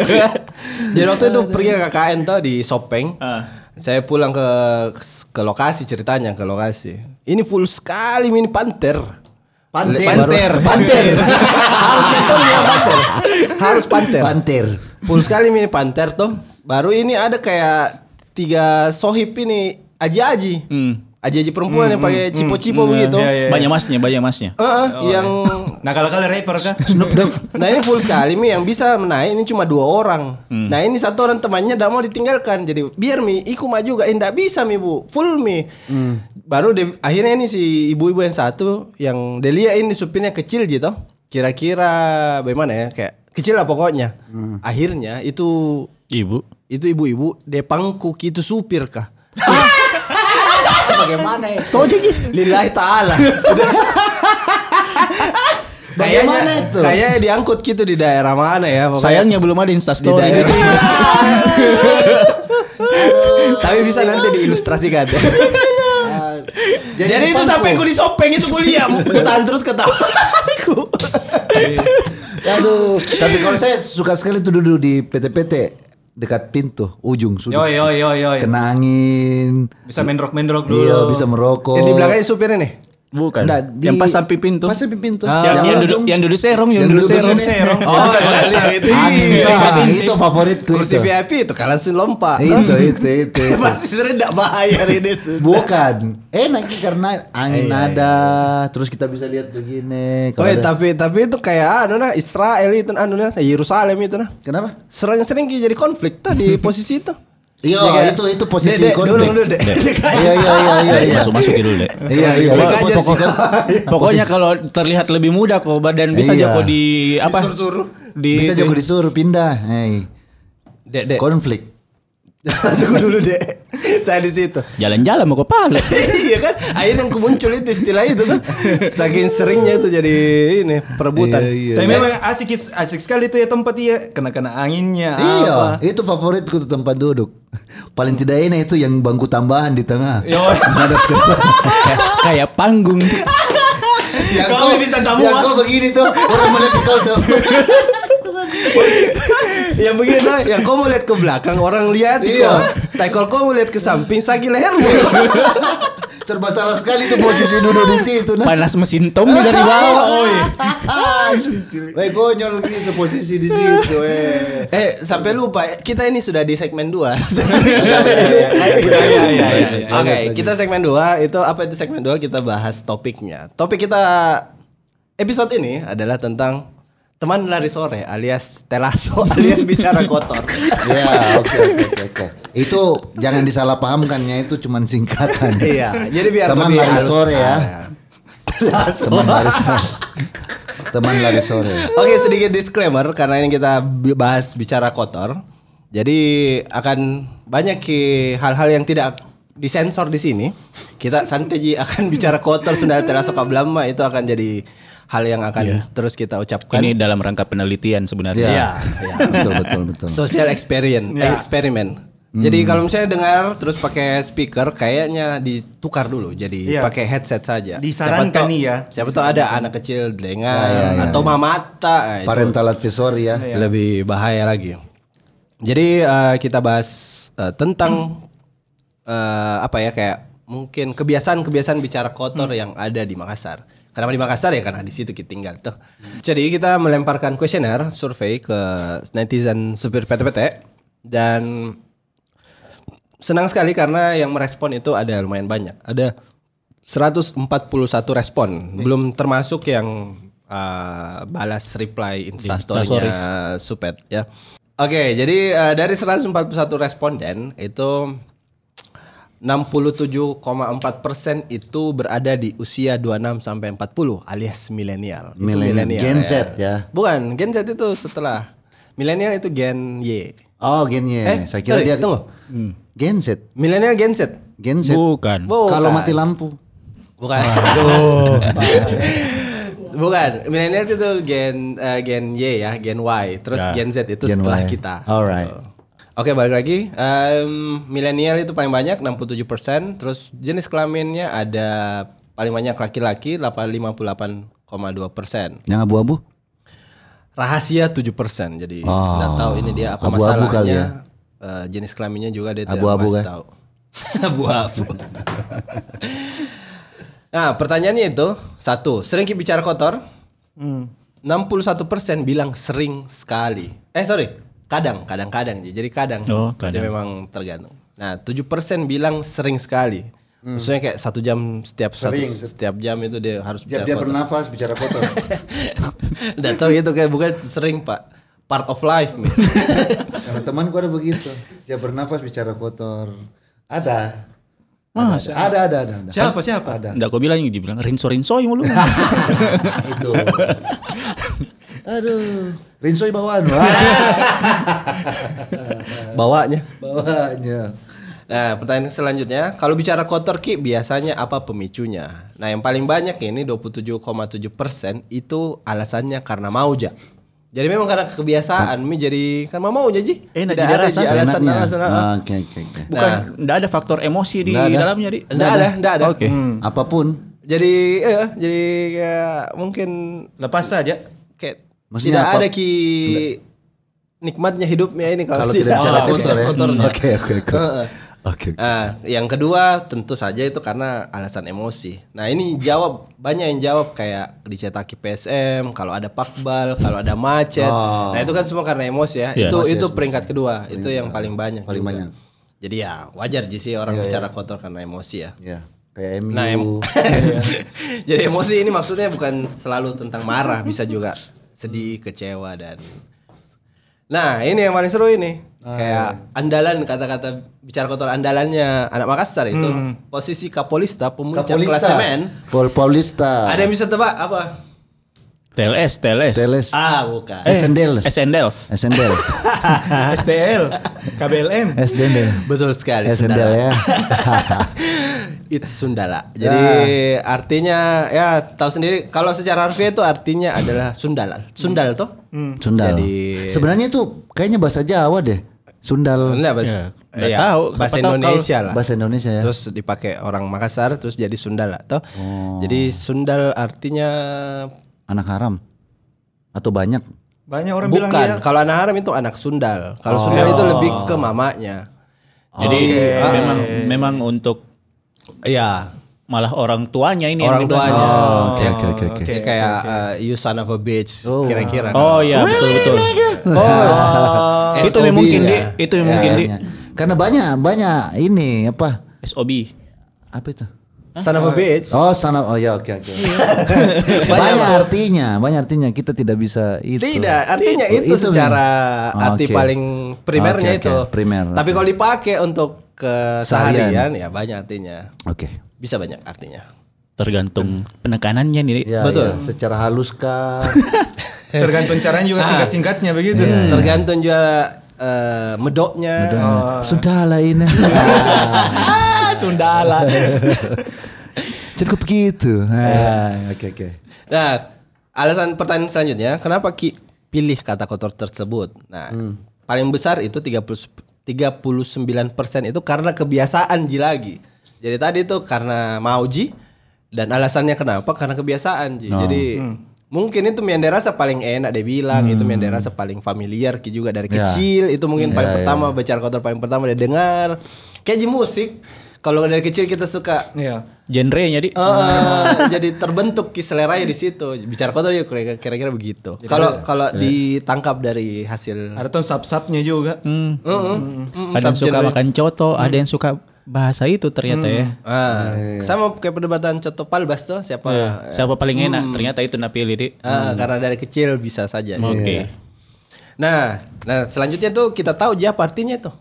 C: jadi waktu itu pergi ke KKN tuh di Sopeng saya pulang ke ke lokasi ceritanya ke lokasi ini full sekali mini panter
B: Panter.
C: Baru-
B: Panter.
C: panter harus panter, panter. harus panter
B: Panter.
C: full sekali mini panter tuh baru ini ada kayak tiga sohib ini aji-aji aji-aji perempuan yang pakai cipo-cipo begitu
D: banyak masnya banyak masnya
C: Eh, eh, yang
E: Nah, kalau kalian rapper kah?
B: Snoop Dogg.
C: nah ini full sekali mi yang bisa menaik ini cuma dua orang nah ini satu orang temannya tidak mau ditinggalkan jadi biar mi iku maju gak tidak bisa mi bu full mi baru dia- akhirnya ini si ibu-ibu yang satu yang Delia ini supirnya kecil gitu kira-kira bagaimana ya kayak kecil lah pokoknya. Akhirnya itu
D: Ibu.
C: itu ibu-ibu depangku
B: gitu
C: itu supir kah?
B: Bagaimana ya?
C: Lillahi taala.
B: Bagaimana
C: Kayaknya-
B: itu?
C: Kayaknya diangkut gitu di daerah mana ya pokoknya.
D: Sayangnya belum ada
C: di
D: instastory.
C: daerah. Tapi bisa nanti diilustrasikan.
B: Ah,
C: Jadi, itu sampai ku disopeng itu kuliah, ketahan terus ketawa.
B: Aduh, tapi kalau saya suka sekali tuh duduk di PT-PT dekat pintu ujung
C: Yo
B: sudah.
C: yo yo yo.
B: Kena angin.
C: Bisa mendrok-mendrok dulu.
B: Iya, bisa merokok.
C: Yang di belakangnya supirnya nih.
D: Bukan.
B: Nggak, di-
D: yang pas samping pintu. Ah.
B: Pas samping pintu.
D: yang, yang, duduk,
B: ujung.
D: yang duduk serong, yang, duduk serong.
C: serong. Oh, iya, itu.
B: Angin, wah, itu favorit tuh.
C: Kursi
B: itu.
C: VIP itu kalah langsung lompat.
B: Itu, itu, itu, itu.
C: Pasti sering enggak bahaya ini. Sun.
B: Bukan. Enak sih karena angin ada, terus kita bisa lihat begini. Kalau
C: Woi,
B: ada-
C: Oh, iya, tapi tapi itu kayak anu nah Israel itu anu nah Yerusalem itu nah.
B: Kenapa?
C: Sering-sering jadi konflik tuh di posisi itu.
B: Iya,
C: Ya, kayak-
B: itu itu posisi
C: Dek, dek,
B: konflik.
C: dulu, dulu, dek.
B: Iya, iya, iya, iya, iya.
D: Masuk masukin dulu deh.
B: Iya, iya.
C: Masuk-
B: itu
C: masuk-
B: posisi-
D: Pokoknya kalau terlihat lebih muda kok badan bisa
B: Iya.
D: joko di apa?
C: Disuruh-suruh.
D: Di,
B: bisa juga disuruh pindah. Hey.
C: Dek, dek.
B: Konflik.
C: Masuk dulu, Dek. Saya di situ.
D: jalan-jalan mau kepala.
C: iya kan akhirnya yang muncul itu istilah itu tuh saking seringnya itu jadi ini perebutan
B: Iya,
E: Tapi memang asik asik sekali tuh ya tempat iya kena kena anginnya.
B: Iya,
E: apa.
B: itu favoritku tuh tempat duduk. Paling tidak enak itu yang bangku tambahan di tengah. Menghadap ke depan.
D: Kayak panggung.
B: yang
E: Kalau
B: kau,
E: minta tamu,
B: yang
E: Wak.
B: kau begini tuh orang melihat kau sama.
C: yang Ya, begini yang kau mau lihat ke belakang orang lihat
B: Iya.
C: iya. tapi kalau kau mau lihat ke samping sakit leher
B: Serba salah sekali tuh posisi duduk di situ. Nah.
D: Panas mesin Tommy dari bawah.
B: Oh, iya. Weh konyol gitu posisi di situ. Eh.
C: eh sampai lupa kita ini sudah di segmen 2 iya, oke kita segmen 2 itu apa itu segmen 2 kita bahas topiknya topik kita episode ini adalah tentang teman lari sore alias telaso alias bicara kotor
B: Ya, oke oke oke, oke. Itu jangan disalahpahamkannya itu cuman singkatan.
C: Iya, jadi biar
B: teman
C: lebih
B: lari
C: halus. Nah.
B: sore ya. teman lari sore. teman lari sore.
C: Nah. Oke sedikit disclaimer karena ini kita bi- bahas bicara kotor, jadi akan banyak ki- hal-hal yang tidak disensor di sini. Kita santai ji, akan bicara kotor sudah terasa kablama itu akan jadi hal yang akan terus kita ucapkan.
D: Ini dalam rangka penelitian
B: Iya.
D: sebenarnya.
B: iya. betul betul betul.
C: Social experience, eh,
E: Ya.
C: eksperimen. Jadi kalau misalnya dengar terus pakai speaker kayaknya ditukar dulu jadi
E: Iya.
C: pakai headset saja.
E: Disarankan
C: Siapa tahu-
E: nih ya.
C: Siapa tahu ada anak kecil dengar
B: iya, iya,
C: atau mamata nah, itu
B: Parental advisory ya.
C: lebih bahaya lagi. Jadi eh, kita bahas eh, tentang eh, apa ya kayak mungkin kebiasaan-kebiasaan bicara kotor yang ada di Makassar. Kenapa di Makassar ya karena di situ kita tinggal tuh. Jadi kita melemparkan kuesioner survei ke netizen supir PT-PT dan senang sekali karena yang merespon itu ada lumayan banyak. Ada 141 respon, belum termasuk yang uh, balas reply instastorynya Supet ya. Oke, jadi uh, dari 141 responden itu 67,4 persen itu berada di usia 26 sampai 40 alias milenial. Itu
B: Milenial. Gen Z ya.
C: Bukan, Gen Z itu setelah milenial itu Gen Y.
B: Oh, gennya.
C: Eh,
B: Saya kira
C: sorry,
B: dia Hmm.
C: tunggu.
B: Gen Z.
C: Milenial Gen Z. kan?
B: Gen Z.
D: Bukan.
C: Bukan.
B: Kalau mati lampu.
C: Bukan. Bukan. Milenial itu tuh gen eh, gen Y ya, gen Y. Terus gen Z itu
B: Gen Y.
C: setelah
B: Oh.
C: kita.
B: Alright.
C: Gitu. Oke, balik lagi. Em, milenial itu paling banyak 67%, terus jenis kelaminnya ada paling banyak laki-laki 58,2%.
B: Yang abu-abu?
C: Rahasia 7%. Jadi
B: Oh,
C: nggak tahu ini dia apa
B: abu-abu
C: masalahnya.
B: kali ya?
C: Eh, jenis kelaminnya juga dia
B: Abu-abu kan?
C: tidak
B: kah?
C: kasih tahu. Abu-abu. Nah, pertanyaannya itu satu, sering ki bicara kotor?
D: Hmm.
C: 61% bilang sering sekali. Eh, sorry, kadang, kadang-kadang. Ji. Jadi kadang.
D: Oh,
C: Jadi
D: kadang.
C: memang tergantung. Nah, 7% bilang sering sekali. Maksudnya kayak satu jam setiap satu-
B: Hmm. Sering.
C: setiap jam itu dia harus
B: Dia,
C: bicara
B: dia
C: kotor.
B: bernafas bicara kotor.
C: Nggak tahu gitu kayak bukan sering, Pak. Part of life. men.
B: Karena temanku ada begitu. Dia bernafas bicara kotor. Ada.
C: Ah,
B: ada, ada, ada, ada, ada.
E: Siapa, siapa?
B: Ada.
D: Enggak kau bilang dibilang rinso-rinsoi mulu.
B: Itu. Aduh, Rinsoy bawaan. Wah,
C: Bawanya.
B: bawaannya.
C: Nah, pertanyaan selanjutnya, kalau bicara kotor Ki, biasanya apa pemicunya? Nah, yang paling banyak ini 27,7 persen itu alasannya karena mau ja. Jadi memang karena kebiasaan, Mi jadi karena mau ja ji.
D: Enak
C: Nggak
D: jadi
C: ada,
D: rasa.
C: Ji, alasan
B: Seenaknya.
C: alasan.
B: Ah, Oke, oke, oke.
D: Bukan, nggak ada faktor emosi di
B: Nggak ada.
D: dalamnya, Di.
C: Nggak ada, nggak ada.
D: Oke.
B: Apapun,
C: Jadi, eh, jadi ya, mungkin
E: Lepas saja.
C: kayak
B: Maksudnya
C: tidak
B: apa?
C: ada Ki nikmatnya hidupnya ini kalau,
B: kalau tidak bicara kotor ya. ah.
C: kotornya.
B: Oke, oke, oke.
C: Heeh.
B: Oke.
C: Ah, yang kedua tentu saja itu karena alasan emosi. Nah ini jawab banyak yang jawab kayak dicetaki PSM, kalau ada pakbal, kalau ada macet.
B: Oh.
C: Nah itu kan semua karena emosi ya.
D: Iya.
C: Itu
B: Emosi ya
C: itu
B: semua.
C: peringkat kedua. itu yang paling banyak.
B: Paling
C: juga.
B: banyak. Iya,
C: Jadi ya wajar sih sih orang bicara kotor karena emosi ya.
B: Ya, kayak MU.
C: Nah, em- Jadi emosi ini maksudnya bukan selalu tentang marah, bisa juga sedih, kecewa dan Nah, ini yang paling seru ini. Kayak andalan kata-kata bicara kotor andalannya anak Makassar itu posisi kapolista pemuncak
B: Kapolista. Ah.
C: klasemen.
B: Pol Paulista.
C: Ada yang bisa tebak apa?
D: TLS, TLS.
B: Teles.
C: Ah, bukan.
D: Eh,
B: Sendel.
D: SNDLs.
B: Esendel.
E: STL, KBLM.
B: Esendel.
C: Betul sekali.
B: Esendel
C: Sundala.
B: ya. Ah.
C: It's Sundala. Jadi artinya ya tahu sendiri kalau secara harfiah itu artinya adalah Sundala. Sundal toh?
B: Sundal.
C: Jadi-
B: Sebenarnya itu kayaknya bahasa Jawa deh. Sundal.
C: Enggak, bahasa,
D: Ya, nggak
C: iya,
D: tahu.
C: bahasa
D: Siapa tahu
C: Indonesia lah.
B: Bahasa Indonesia ya.
C: Terus dipakai orang Makassar terus jadi Sundala toh. Jadi Sundal artinya
B: Anak haram. Atau banyak.
E: Banyak orang bilang iya.
C: bukan.
E: dia
C: Kalau anak haram itu anak Sundal. Kalau Sundal itu lebih ke mamanya.
D: Jadi memang memang untuk
C: Iya,
D: malah orang tuanya ini
C: orang
D: yang dibantu.
C: tuanya.
B: Oke oke oke oke.
C: Jadi kayak uh, you son of a bitch kira-kira.
D: Oh iya betul betul.
C: Oh.
D: Itu
C: SOB,
D: yang mungkin
C: ya.
D: di itu yang mungkin di
B: Kayaknya. Karena banyak banyak ini apa?
D: SOB.
B: Apa itu?
C: Son of a bitch.
B: Oh, sana oh ya oke oke.
C: Iya.
B: banyak artinya, banyak artinya kita tidak bisa itu.
C: Tidak, artinya
B: Itu,
C: itu,
B: itu
C: secara
B: memang. Oh,
C: arti
B: Oke.
C: paling primernya
B: Oke, oke,
C: itu.
B: primer.
C: Tapi kalau dipakai untuk
B: Seharian.
C: keseharian ya banyak artinya.
B: Oke.
C: Bisa banyak artinya.
D: Tergantung penekanannya nih. Di.
B: Ya, ya,
C: Betul.
B: secara halus kah?
E: tergantung
B: Ah.
E: caranya juga singkat-singkatnya begitu.
B: Iya, Eh.
C: Tergantung juga eh, medoknya.
B: Sudahlah ini.
C: Ah, Sundala.
B: Cukup begitu. Ah,
C: Eh.
B: Oke oke.
C: nah, alasan pertanyaan selanjutnya, kenapa Ki pilih kata kotor tersebut? Nah,
B: Hmm.
C: paling besar itu 30 39% itu karena kebiasaan Ji lagi. Jadi tadi itu karena mau Ji dan alasannya kenapa? Karena
B: Oh.
C: kebiasaan Ji. Jadi Mungkin itu yang dia rasa paling enak dia bilang itu yang dia rasa paling familiar Ki juga dari
B: Hmm. Ya.
C: kecil itu mungkin paling
B: Ya, ya.
C: pertama bicara kotor paling pertama dia dengar kayak Ji musik kalau dari kecil kita suka
E: Iya.
D: Genrenya di.
C: Eh, jadi terbentuk ki seleranya di situ. Bicara kotor ya kira- kira-kira begitu. Kalau kalau
D: Ya.
C: ditangkap dari hasil
E: Ada tuh sub-subnya juga.
B: Hmm.
C: Mm-mm. Mm-mm,
D: ada yang suka
C: subgenre.
D: makan coto, ada yang suka bahasa itu ternyata ya.
C: Ah, sama kayak perdebatan contoh palbas tuh siapa
D: Iya.
C: eh,
D: Siapa paling enak? Ternyata itu nak pilih di.
C: ah, karena dari kecil bisa saja. Iya.
D: Hmm. Oke.
C: Nah, nah selanjutnya tuh kita tahu dia apa artinya tuh.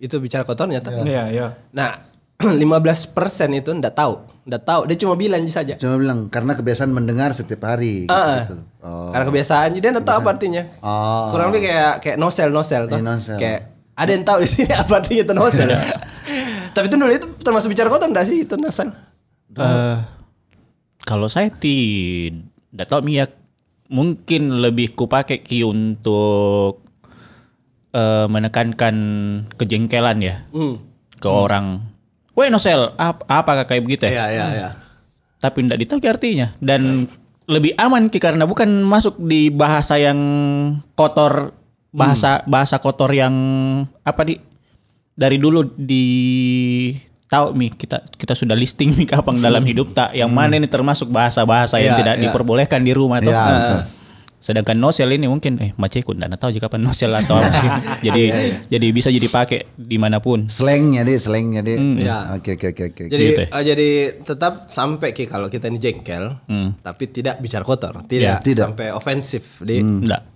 C: Itu bicara kotornya tuh.
E: Iya, iya.
C: Nah, 15% itu ndak tahu, ndak tahu. Dia cuma bilang saja.
B: Cuma bilang karena kebiasaan mendengar setiap hari gitu.
C: Ah,
B: gitu. Oh.
C: Karena kebiasaan jadi dia nggak tahu apa artinya.
B: Oh.
C: Kurang lebih kayak kayak nosel nosel tuh.
B: Iya, nosel. Iya.
C: Kayak ada yang tahu di sini apa artinya itu nosel. Tapi itu dulu itu termasuk bicara kotor enggak sih itu nosel?
D: Eh, kalau saya tidak tahu minyak mungkin lebih kupakai ki untuk eh, menekankan kejengkelan ya
C: Hmm.
D: ke orang. Weh Nosel, ap apa kayak begitu
C: Iya
D: ya?
C: iya iya.
D: Tapi tidak ditahu ki artinya dan lebih aman ki karena bukan masuk di bahasa yang kotor
C: Hmm.
D: bahasa bahasa kotor yang apa di dari dulu di tahu mi kita kita sudah listing mi kapang dalam hidup tak yang mana ini termasuk bahasa-bahasa
C: Hmm.
D: yang
C: Iya,
D: tidak
C: iya.
D: diperbolehkan di rumah toh.
B: Iya,
D: Nah,
B: betul.
D: Sedangkan nosel ini mungkin eh maceku ndak tahu jika kapan nosel atau apa sih. jadi
C: Iya,
D: jadi bisa jadi pakai dimanapun.
B: Slangnya deh, slangnya deh.
C: Iya.
B: Oke oke oke oke.
C: Jadi
D: Gitu ya.
C: eh, jadi tetap sampai ki kalau kita ini jengkel, tapi tidak bicara kotor,
B: Hmm. Iya,
C: tidak,
B: tidak. Hmm.
C: sampai ofensif di
D: Enggak.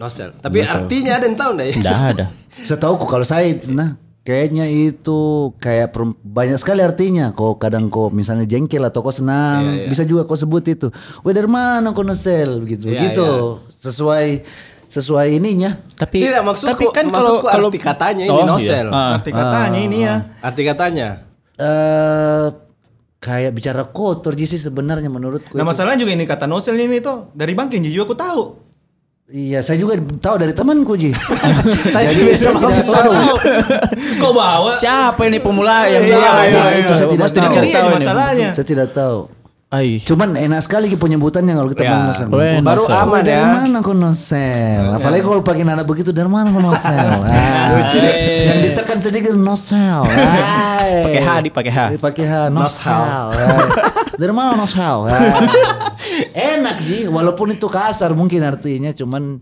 C: nosel. Tapi artinya ada yang tahu enggak ya?
D: Enggak ada.
B: Setahuku kalau saya nah Kayaknya itu kayak perem- banyak sekali artinya. Kau kadang kau misalnya jengkel atau kau senang,
E: Iya,
B: bisa juga kau sebut itu. Weh dari mana kau nesel
E: Iya,
B: begitu, begitu. Sesuai sesuai ininya.
D: Tapi
C: Tidak maksudku,
D: tapi kan kalau
C: maksudku
D: kalau
C: arti katanya ini
D: Oh, iya.
C: nosel.
D: Ah.
E: Arti katanya ini ya.
B: Ah.
C: Arti katanya.
B: eh kayak bicara kotor sih sebenarnya menurutku.
E: Nah
B: itu.
E: masalahnya juga ini kata nosel ini tuh dari Bangkeng juga aku tahu.
B: Iya, saya juga tahu dari temanku Ji. Jadi saya tidak tahu.
E: Iya, Kok bawa?
D: siapa ini pemula yang
E: Iya,
D: salah?
E: iya,
D: Nah,
E: iya.
D: itu saya
B: Mas
D: tidak
B: tidak
D: tahu.
E: Ini aja masalahnya.
B: Saya tidak tahu.
D: Ai.
B: Cuman enak sekali ki penyebutannya kalau kita
E: Iya.
C: Ya,
B: ngomong nosel.
D: keren.
C: Baru
B: Nosel.
C: aman
B: Oh, dari
C: ya.
B: mana kau nosel? Apalagi kalau pakai nada begitu dari mana kau nosel? Ah, yang ditekan sedikit nosel. Hai.
D: Pakai H, Di, pakai H.
B: Pakai H nosel.
C: Noshal.
B: Hai. dari mana nosel? Hai. Enak ji, walaupun itu kasar mungkin artinya cuman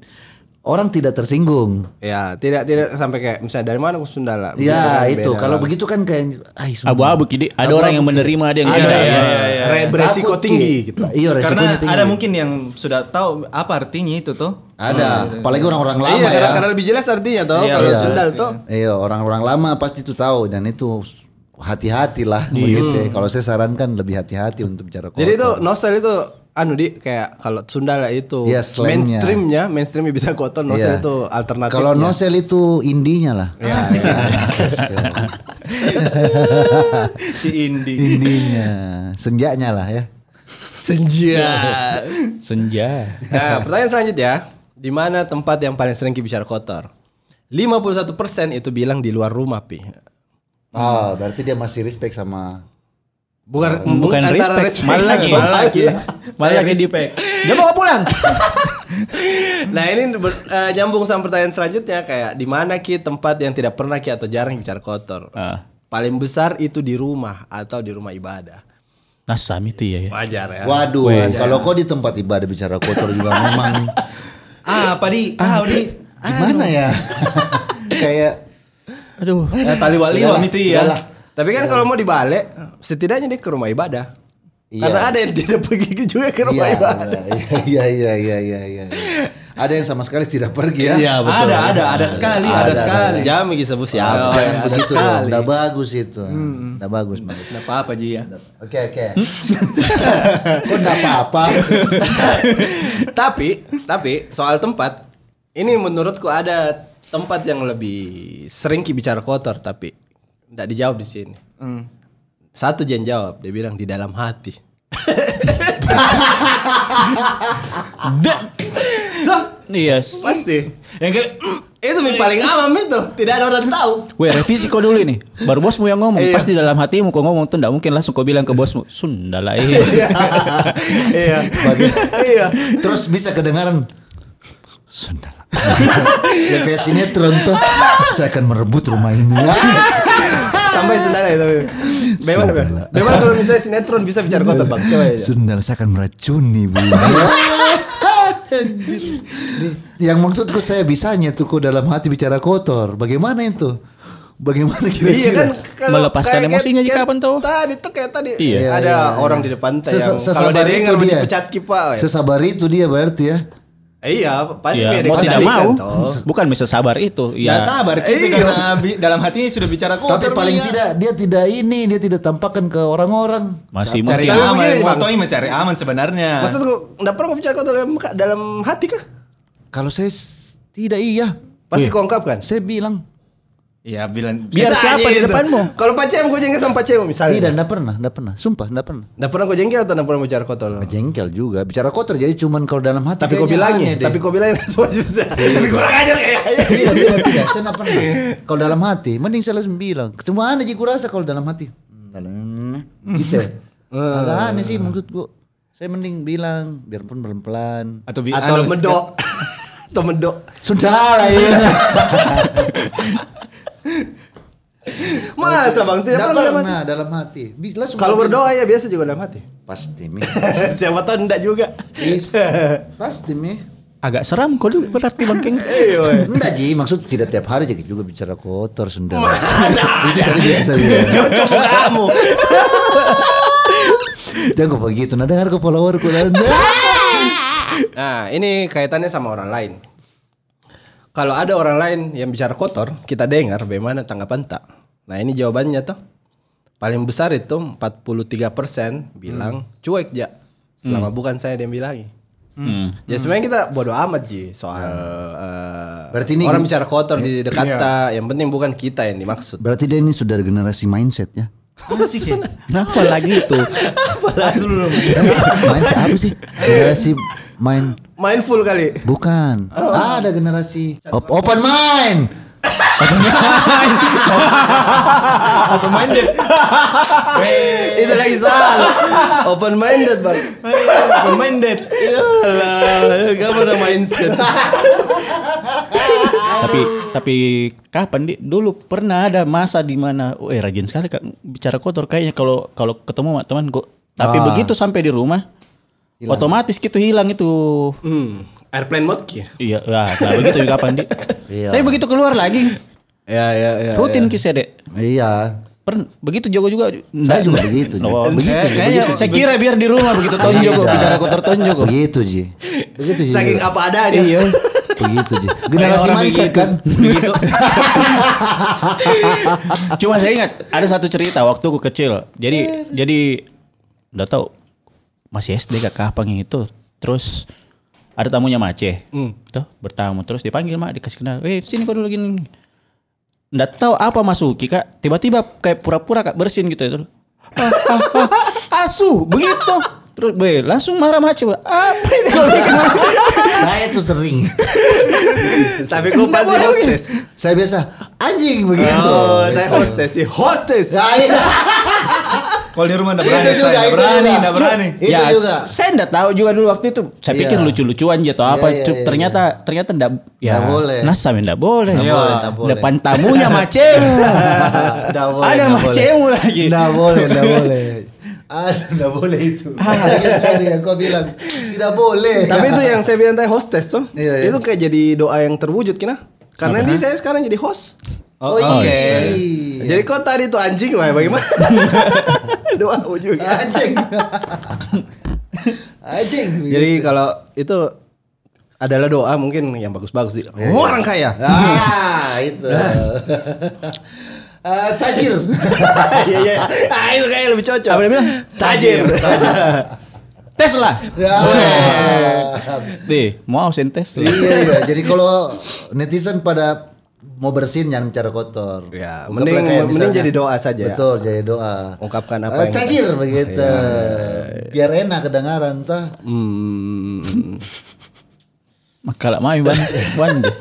B: orang tidak tersinggung.
C: Ya, tidak tidak sampai kayak misalnya dari mana aku Sundala.
B: Ya
C: Bukan,
B: itu
C: beda.
B: kalau begitu kan kayak ai, sumpah.
D: Abu-abu kidi. Ada orang yang menerima ada yang tidak.
C: iya,
D: Ya.
C: iya, iya. Re- beresiko
B: Takut, Ki.
C: tinggi gitu.
B: Iya resikonya
E: Karena
B: tinggi.
E: ada mungkin yang sudah tahu apa artinya itu tuh.
B: Ada, apalagi orang-orang lama
C: iya,
B: ya.
C: karena, karena lebih jelas artinya toh kalau
B: iya.
C: Sundal toh.
B: Iya, orang-orang lama pasti itu tahu dan itu hati-hatilah begitu. ya. Kalau saya sarankan lebih hati-hati untuk bicara kotor.
C: Iya. Jadi itu nosel itu anu di kayak kalau Sundala itu
B: Iya, slangnya.
C: mainstreamnya, mainstreamnya bisa kotor, nosel
B: Iya.
C: itu Iya. alternatif.
B: Kalau nosel itu indinya lah. Asik.
E: Si Indi.
B: Iya. indinya, senjanya lah ya.
C: senja.
D: Senja.
C: nah, pertanyaan selanjutnya, di mana tempat yang paling sering Ki bicara kotor? 51% itu bilang di luar rumah, Pi. Ah.
B: Oh, berarti dia masih respect sama
C: Bukan
D: Bukan
C: antara
D: respect, malah lagi.
C: malah lagi.
D: Malah lagi di
C: Dia mau pulang. nah, ini ber- eh, nyambung sama pertanyaan selanjutnya kayak di mana Ki tempat yang tidak pernah Ki atau jarang bicara kotor?
D: Ah.
C: Paling besar itu di rumah atau di rumah ibadah.
D: Nasam itu ya. ya.
C: Wajar ya.
B: Waduh, kalau kau di tempat ibadah bicara kotor juga memang
E: Ah, apa di? Ah, di.
B: gimana ya? Kayak
D: Aduh.
E: Eh, tali wali
B: Udahlah,
E: itu ya.
B: udahlah.
C: Tapi kan kalau mau dibalik, setidaknya dia ke rumah ibadah.
B: Iya.
C: Karena ada yang tidak pergi juga ke rumah
B: Iya,
C: ibadah.
B: Iya iya iya iya iya. iya. Ada yang sama sekali tidak pergi ya.
E: Iya,
C: Iya,
E: Ada, ada, ada sekali,
B: Ada,
E: ada,
B: ada.
E: sekali.
C: Jam lagi sebus ya.
B: Jangan
E: iya, ada
B: begitu
E: sekali.
B: dong. Udah bagus itu. Udah bagus banget.
E: Enggak apa-apa Ji ya.
C: Iya.
B: Oke oke. Kok enggak apa-apa?
C: tapi, tapi soal tempat, ini menurutku ada tempat yang lebih sering Ki bicara kotor tapi tidak dijawab di sini.
E: Hmm.
C: Satu jen jawab, dia bilang di dalam hati.
D: Yes.
C: Pasti. Yang kayak "Mm." itu yang paling awam itu, tidak ada orang tahu.
D: Weh revisi kau dulu nih Baru bosmu yang ngomong
C: Iya.
D: Pasti dalam hatimu kau ngomong tuh Nggak mungkin langsung kau bilang ke bosmu Sunda lah eh."
C: iya.
B: Bagi-
C: Iya.
B: Terus bisa kedengaran. Sundal. Kayak sinetron tuh. Saya akan merebut rumah ini.
C: Sampai saudara itu. Bagaimana, Bang?
B: Saudara.
C: Bagaimana kalau misalnya sinetron bisa bicara kotor, Bang? Coba aja.
B: Sundal saya akan meracuni bu. Anjir. Yang maksudku saya bisanya tuh kok dalam hati bicara kotor. Bagaimana itu? Bagaimana kira-kira?
C: Iya kan kalau
D: Melepaskan emosinya
C: kayak
D: jika kapan tuh?
C: Tadi tuh kayak tadi ada
D: Iya.
B: Iya, iya, iya.
C: orang di depan saya
B: Sesa-
C: yang kalau dia dengar mau dipecat kipa. ya.
B: Sesabar itu dia berarti ya.
C: Iya, pasti
D: Ya,
C: dia
D: mau tidak
C: dikendalikan
D: mau
C: toh.
D: Bukan bisa sabar itu
E: Ya
D: ya.
E: sabar kita
C: Iya.
E: karena bi- dalam hatinya sudah bicara kotor. ya.
B: Tapi paling
E: Mia.
B: tidak dia tidak ini, dia tidak tampakkan ke orang-orang.
D: Masih
E: cari
D: mungkin
E: aman,
C: begini, Bang.
E: Motoy mencari aman sebenarnya.
C: Maksud gua enggak pernah kau bicara kotor dalam dalam hati kah?
B: Kalau saya s- tidak iya,
C: Pasti kau ungkapkan.
B: saya bilang
E: Iya, bilang
D: Biar
C: Bisa
D: siapa
C: aja
D: di
C: itu.
D: depanmu.
C: Kalau pacem gua jengkel sama pacem misalnya.
B: tidak, tidak pernah, tidak pernah. Sumpah, tidak pernah.
C: Enggak pernah kau jengkel atau enggak pernah bicara kotor?
B: Jengkel juga, bicara kotor jadi cuman kalau dalam hati.
C: Tapi kau
B: kayaknya aneh
C: bilangin,
B: deh.
C: tapi kau bilangin semua bisa. Tapi kurang ajar ya. kayaknya.
B: tidak, tidak, Iya, tidak. Saya nggak pernah. Kalau dalam hati, mending saya langsung bilang. Ketemu aneh jika rasa kalau dalam hati. Hmm, dalam- Gitu. ya. Agak aneh sih maksud gua. Saya mending bilang, biarpun pelan-pelan.
E: atau bi-
C: Atau
E: anu,
C: medok. Atau medok.
B: Sudah lah ya.
C: Masa Bang, tidak
B: Tidak
C: pernah dalam hati.
B: pernah dalam hati. Bi- langsung
C: Kalau
B: bilang.
C: berdoa ya biasa juga dalam hati.
B: Pasti mi.
C: Siapa tahu enggak juga.
B: Is- Pasti mi.
D: Agak seram kau dulu berarti Bang Keng.
B: Enggak Ji, maksud tidak tiap hari jadi juga bicara kotor sendal. Itu tadi biasa saya bilang.
C: Cocok kamu.
B: Jangan kau begitu, nah dengar ke followerku. Nah.
C: Nah, ini kaitannya sama orang lain. Kalau ada orang lain yang bicara kotor, kita dengar bagaimana tanggapan tak. Nah ini jawabannya tuh. Paling besar itu 43% bilang cuek ja. Selama bukan saya yang bilangi.
D: Hmm.
C: Ya sebenarnya kita bodoh amat Ji soal eh,
B: Berarti ini-
C: orang bicara kotor di dekat tak. Yang penting bukan kita yang dimaksud.
B: Berarti dia ini sudah generasi mindset ya.
E: Asik ya.
A: Kenapa lagi itu?
B: mindset apa sih? Generasi mind
C: Mindful kali.
B: bukan.
C: Oh.
B: Ada generasi op- open mind.
E: Open minded.
C: Itu lagi salah. Open minded bang.
E: Open minded.
C: Yalah, kamu udah mindset.
D: Tapi tapi kapan di dulu pernah ada masa di mana oh, eh rajin sekali Kak, bicara kotor kayaknya kalau kalau ketemu sama teman gua. Tapi begitu sampai di rumah otomatis gitu hilang itu.
C: Hmm, airplane mode ki.
D: Iya, lah, nah, begitu kapan di. Tapi begitu keluar lagi
C: Ya ya ya.
D: rutin kisah Dek.
B: Iya.
D: Pern, begitu Jogo juga.
B: Saya
D: Nggak-
B: juga begitu. Ji.
D: Oh, begitu.
E: Saya kayaknya
D: Saya kira biar di rumah begitu tahun Jogo
B: Tidak.
D: bicara kotor tahun Jogo.
B: Begitu Ji. Begitu Ji.
C: Saking apa adanya.
D: Iya.
B: Begitu Ji. Generasi
D: Orang
B: mindset
D: begitu.
B: kan.
D: Begitu. Cuma saya ingat ada satu cerita waktu aku kecil. Jadi jadi udah tahu masih SD gak kapang itu. gitu. Terus ada tamunya Mace. Tuh bertamu terus dipanggil Mak dikasih kenal. Eh sini kau dulu gini. Nggak tahu apa Masuki Kak. Tiba-tiba kayak pura-pura Kak bersin gitu itu. Ah, ah, ah, Asu begitu. Terus be, langsung marah Mace. Apa ini kau bikin?
B: Saya tuh sering.
C: Tapi gue pasti hostess.
B: Saya biasa anjing begitu.
C: Oh, saya hostess sih. Hostess.
B: Ya, iya.
E: Kalau di rumah enggak
B: Itu juga,
E: berani, saya enggak
B: itu
E: berani,
B: juga.
E: enggak berani.
B: Itu
D: ya,
B: juga.
D: s- Saya enggak tahu juga dulu waktu itu. Saya
B: Iya.
D: pikir lucu-lucuan aja atau apa.
B: iya,
D: Cuk-
B: iya,
D: ternyata ternyata enggak ya
B: Nggak boleh.
D: Nasab enggak boleh.
B: Nggak
D: Iya.
B: boleh, nggak boleh.
D: Depan tamunya macemu.
B: Nggak boleh,
D: Ada
B: nggak
D: macemu
B: boleh.
D: lagi.
B: Nggak boleh, nggak boleh. Aduh, nggak Ah, boleh itu.
C: Ah.
B: Iya tadi yang kau bilang tidak boleh.
C: Tapi itu yang saya bilang tadi hostess tuh.
B: Iya, iya.
C: Itu kayak jadi doa yang terwujud kina. Karena di saya sekarang jadi host.
B: Oh, iya.
C: Jadi kok tadi tuh anjing lah bagaimana? doa ujungnya.
B: anjing. anjing.
C: Jadi kalau itu adalah doa mungkin yang bagus-bagus sih. Orang kaya.
B: ah itu.
C: Nah.
B: Eh, tajir.
C: Iya iya. Ah itu kayak lebih cocok.
D: Apa dia bilang?
C: Tajir.
D: Tesla.
B: Ya.
D: Nih, mau ausin Tesla.
B: iya, iya. Jadi kalau netizen pada mau bersin jangan bicara kotor.
C: Ya,
B: Ungkaplah
C: mending-
B: kayak
C: mending
B: misalnya-
C: jadi doa saja ya.
B: Betul, jadi doa.
C: Ungkapkan apa
B: Eh,
C: yang- Oh, iya,
B: tajir begitu. Biar enak kedengaran tuh.
C: Hmm.
D: Kalau mami ban Wan deh.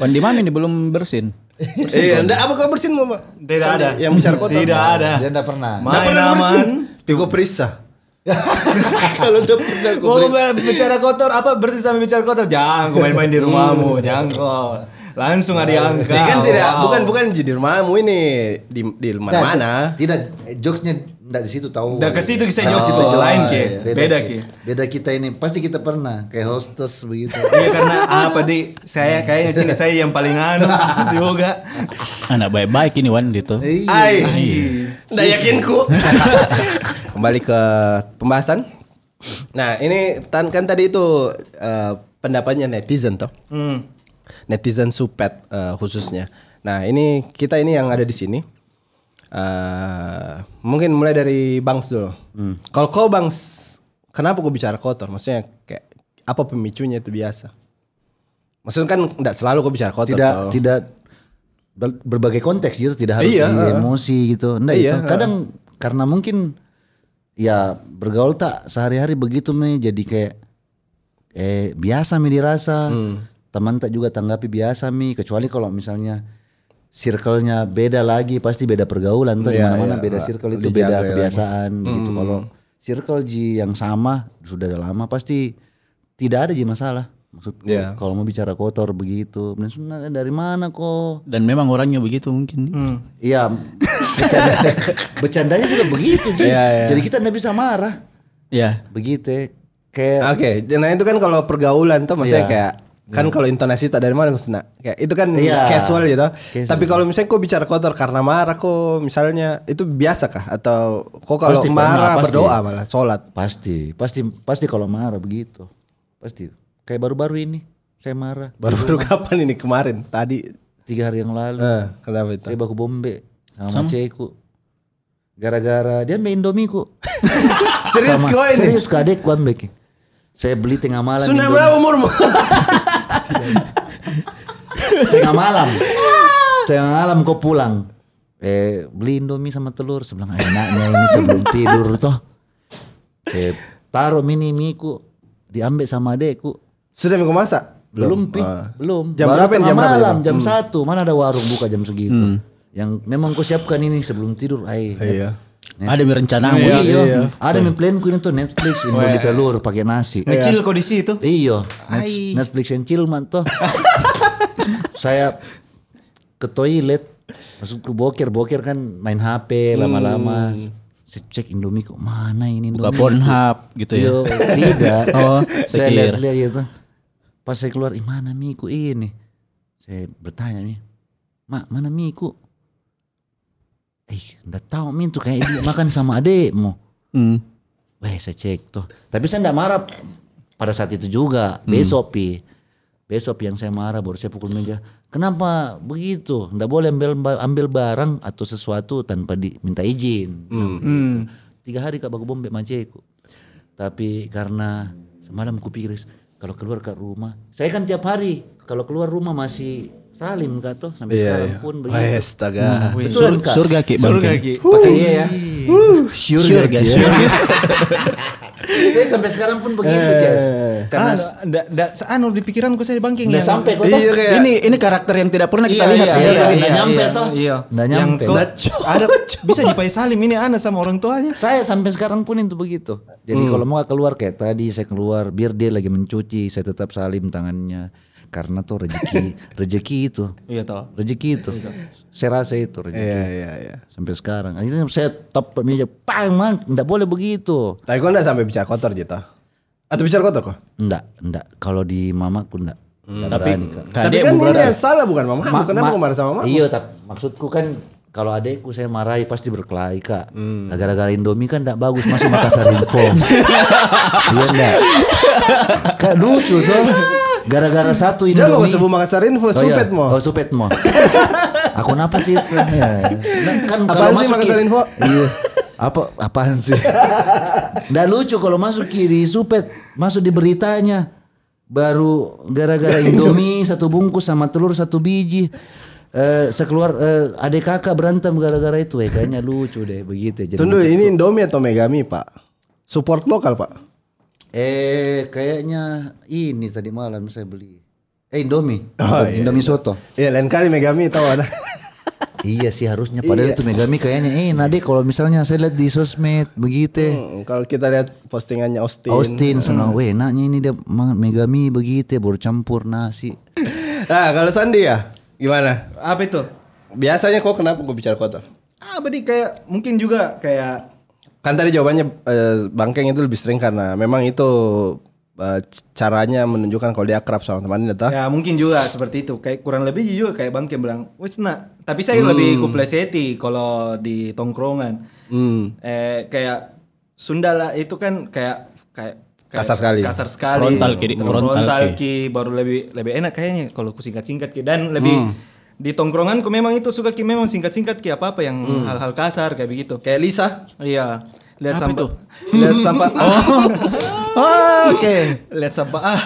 D: Wan di mami nih belum bersin.
C: Iya, enggak apa kau bersin mau, Pak?
E: Tidak ada.
C: Yang bicara kotor.
E: Tidak ada.
B: Dia enggak pernah.
E: Main aman.
C: Tiko Prisa. Kalau udah pernah gua
E: Mau
C: beli.
E: be- bicara kotor apa bersih sama bicara kotor? Jangan kau main-main di rumahmu, jangan kau. Langsung ada yang angkat.
C: Ini kan tidak
E: Wow.
C: bukan bukan di rumahmu ini di di mana mana.
B: Tidak, jokesnya enggak di situ tahu.
E: Udah ke situ kisah
B: Nggak
E: jokes
B: di
E: itu
B: situ,
E: lain,
B: jokes.
E: Ki.
B: Beda,
E: Beda,
B: Ki.
E: Ki.
B: Beda kita ini pasti kita pernah kayak hostess begitu.
E: Iya karena apa di
B: Iya.
E: saya kayaknya sih saya yang paling anu juga.
D: Anak baik-baik ini Wan gitu.
B: Iya.
C: Ai. Nggak yakinku. Iya. Kembali ke pembahasan. Nah, ini tan kan tadi itu eh, pendapatnya netizen toh. Netizen supet eh, khususnya. Nah, ini kita ini yang ada di sini. eh mungkin mulai dari Bangs dulu. Kalau kau Bangs, kenapa kau bicara kotor? Maksudnya kayak apa pemicunya itu biasa? Maksudnya kan tidak selalu kau bicara kotor.
B: tidak
C: toh.
B: tidak ber- berbagai konteks gitu tidak harus
C: Iya,
B: di
C: heeh.
B: emosi gitu Nggak
C: Iya,
B: itu kadang karena mungkin ya bergaul tak sehari-hari begitu me jadi kayak eh biasa mi dirasa
C: Hmm.
B: teman tak juga tanggapi biasa mi kecuali kalau misalnya circle-nya beda lagi pasti beda pergaulan tuh di
C: Iya,
B: mana-mana
C: iya.
B: beda circle itu
C: Dijaga
B: beda
C: lagi.
B: kebiasaan begitu kalau circle ji yang sama sudah lama pasti tidak ada ji masalah maksudku
C: Iya.
B: kalau mau bicara kotor begitu bener sunat dari mana kok
D: Dan memang orangnya begitu mungkin.
B: iya bercanda bercandanya juga begitu Ji.
C: Iya, iya.
B: jadi kita nggak bisa marah
D: Ya.
B: begitu ya. kayak
C: Oke, nah itu kan kalau pergaulan tuh maksudnya
B: Iya.
C: kayak kan kalau intonasi tak dari mana maksudnya kayak itu kan
B: Iya.
C: casual gitu.
B: Casual.
C: Tapi kalau misalnya kok bicara kotor karena marah kok misalnya itu biasa kah atau kok kalau
B: Pasti
C: marah
B: pernah, pasti.
C: berdoa malah sholat.
B: pasti pasti pasti kalau marah begitu pasti kayak baru-baru ini kayak marah.
C: Baru-baru kapan ini kemarin? Tadi.
B: Tiga hari yang lalu.
C: Eh, kenapa itu?
B: Saya baku bombe sama, Ceko. Gara-gara dia main Indomie ku.
C: Serius
B: Sama-
C: kau ini?
B: Serius ku adek ku ambek. Saya beli tengah malam.
C: Sudah
B: Indomie.
C: berapa umurmu?
B: Tengah malam. Tengah malam kau pulang. Eh beli Indomie sama telur sebelah enaknya ini sebelum tidur toh. Saya taruh mini mie ku diambil sama adekku.
C: Sudah mau masak?
B: Belum, Pi.
C: Ah.
B: belum.
C: Jam berapa ini?
B: tengah
C: Jam berapa Hmm. ini?
B: malam, jam satu. Mana ada warung buka jam segitu? Yang memang kau siapkan ini sebelum tidur. Ay,
C: Iya.
D: Ada rencana
B: Iya,
D: iya.
B: Ada main plan ku ini tuh Netflix
C: Oh, iya,
B: Indomie telur pakai nasi.
E: Kecil kok di situ.
B: Iya, Net- Netflix and chill man toh. Saya ke toilet, maksudku boker boker kan main HP lama-lama. Saya cek Indomie kok mana ini
D: Buka
B: Indomie?
D: Pornhub gitu ya.
B: Yo, tidak.
D: Oh,
B: Iya. saya
D: pikir.
B: lihat-lihat gitu. Pas saya keluar, "Ih, mana miku ini?" Saya bertanya nih, "Mak, mana miku?" Eh, nggak tahu min tuh kayak dia makan sama adekmu. Weh, saya cek tuh. Tapi saya nggak marah pada saat itu juga. Besok pi. Besok yang saya marah baru saya pukul meja. Kenapa begitu? Nggak boleh ambil ambil barang atau sesuatu tanpa diminta izin. Gitu. Tiga hari kak baku bombe maceku. Tapi karena semalam kupikir kalau keluar ke rumah, saya kan tiap hari kalau keluar rumah masih salim kak toh
C: Iya,
B: sampai sekarang pun Hmm. begitu.
C: Astaga.
B: Betul kan,
D: Sur-
B: kak.
D: surga Ki Bangkeng.
E: gitu.
B: Pakai iya ya.
D: Surga.
B: Tapi sampai sekarang pun begitu, Jess. Karena
E: Karena ndak ndak anu di pikiranku saya bangking
B: Nggak
E: yang-
B: Ah, sampai kok
D: Oh,
B: toh.
E: Iya, kayak-
F: ini ini karakter yang tidak pernah kita
E: Iya,
F: lihat
E: iya,
F: sebenarnya.
E: iya,
B: Nggak
E: iya,
B: kan? nyampe
E: iya,
B: toh.
E: Iya.
B: Nggak
E: Yang
B: nyampe.
E: kok
B: Nggak
E: Ada bisa dipakai salim ini anak sama orang tuanya.
B: Saya sampai sekarang pun itu begitu. Jadi kalau mau keluar kayak tadi saya keluar, biar dia lagi mencuci, saya tetap salim tangannya. Karena tuh rezeki, rezeki itu.
E: Iya toh.
B: Rezeki itu. Saya rasa itu rezeki.
C: Iya, iya, iya.
B: Sampai sekarang. Akhirnya saya top meja, pang, man, enggak boleh begitu.
C: Tapi kok enggak sampai bicara kotor gitu? Atau bicara kotor kok?
B: Enggak, enggak. Kalau di mamaku enggak. Enggak
D: Tapi
B: berani, Kak.
C: Tapi
D: kadek
E: ya.
C: kan ini
D: bukan
C: yang salah bukan mama.
B: Ma-
C: Kenapa
B: ma-
C: kau marah sama mama?
B: Iya, tapi maksudku kan kalau adekku saya marahi pasti berkelahi kak.
C: Hmm.
B: Nah, gara-gara Indomie kan tidak bagus masuk Makassar Info. Iya enggak. Kak lucu tuh. Gara-gara satu
C: Jangan kau
B: Indomie.
C: sebut Makassar Info,
B: Oh, iya.
C: supet mo.
B: Oh supet mo. Aku napa sih? itu? Ya. Nah, kan
C: Apaan
B: kalau
C: sih
B: masuk
C: Makassar
B: Ki-
C: Info?
B: Iya. Apa apaan sih? Nggak lucu kalau masuk kiri supet, masuk di beritanya. Baru gara-gara Indomie satu bungkus sama telur satu biji. Eh sekeluar eh, adik kakak berantem gara-gara itu eh kayaknya lucu deh begitu ya, jadi
C: Tunggu ini Indomie atau Megami pak? Support lokal pak?
B: eh kayaknya ini tadi malam saya beli eh Indomie Indomie soto
C: Oh, Iya lain kali Megami tahu ada.
B: Iya sih harusnya padahal itu Megami kayaknya eh Nade kalau misalnya saya lihat di sosmed begitu
C: Hmm, Kalau kita lihat postingannya Austin.
B: Austin senang weh enaknya ini dia ma- Megami begitu baru campur nasi
C: Nah kalau Sandi ya gimana?
E: Apa itu?
C: Biasanya kok kenapa gue bicara kotor?
E: Ah, berarti kayak mungkin juga kayak
C: Kan tadi jawabannya eh, bangkeng itu lebih sering karena memang itu eh, c- caranya menunjukkan kalau dia akrab sama temannya tah.
E: ya mungkin juga seperti itu. Kayak kurang lebih juga kayak Bang Kim bilang, "Wes nak." Tapi saya lebih kupleseti kalau di tongkrongan. Eh kayak Sunda lah itu kan kayak kayak kayak
C: Kasar sekali.
E: Kasar sekali.
D: Frontal, Ki. Frontal,
E: Frontal,
D: Ki.
E: Ki. baru lebih lebih enak kayaknya kalau ku singkat-singkat Ki. dan lebih di tongkronganku memang itu suka Ki memang singkat-singkat Ki apa-apa yang hal-hal kasar kayak begitu.
C: Kayak Lisa.
E: Iya. Lihat sampah. Lihat sampah. Ah. Oke. Lihat sampah. Ah.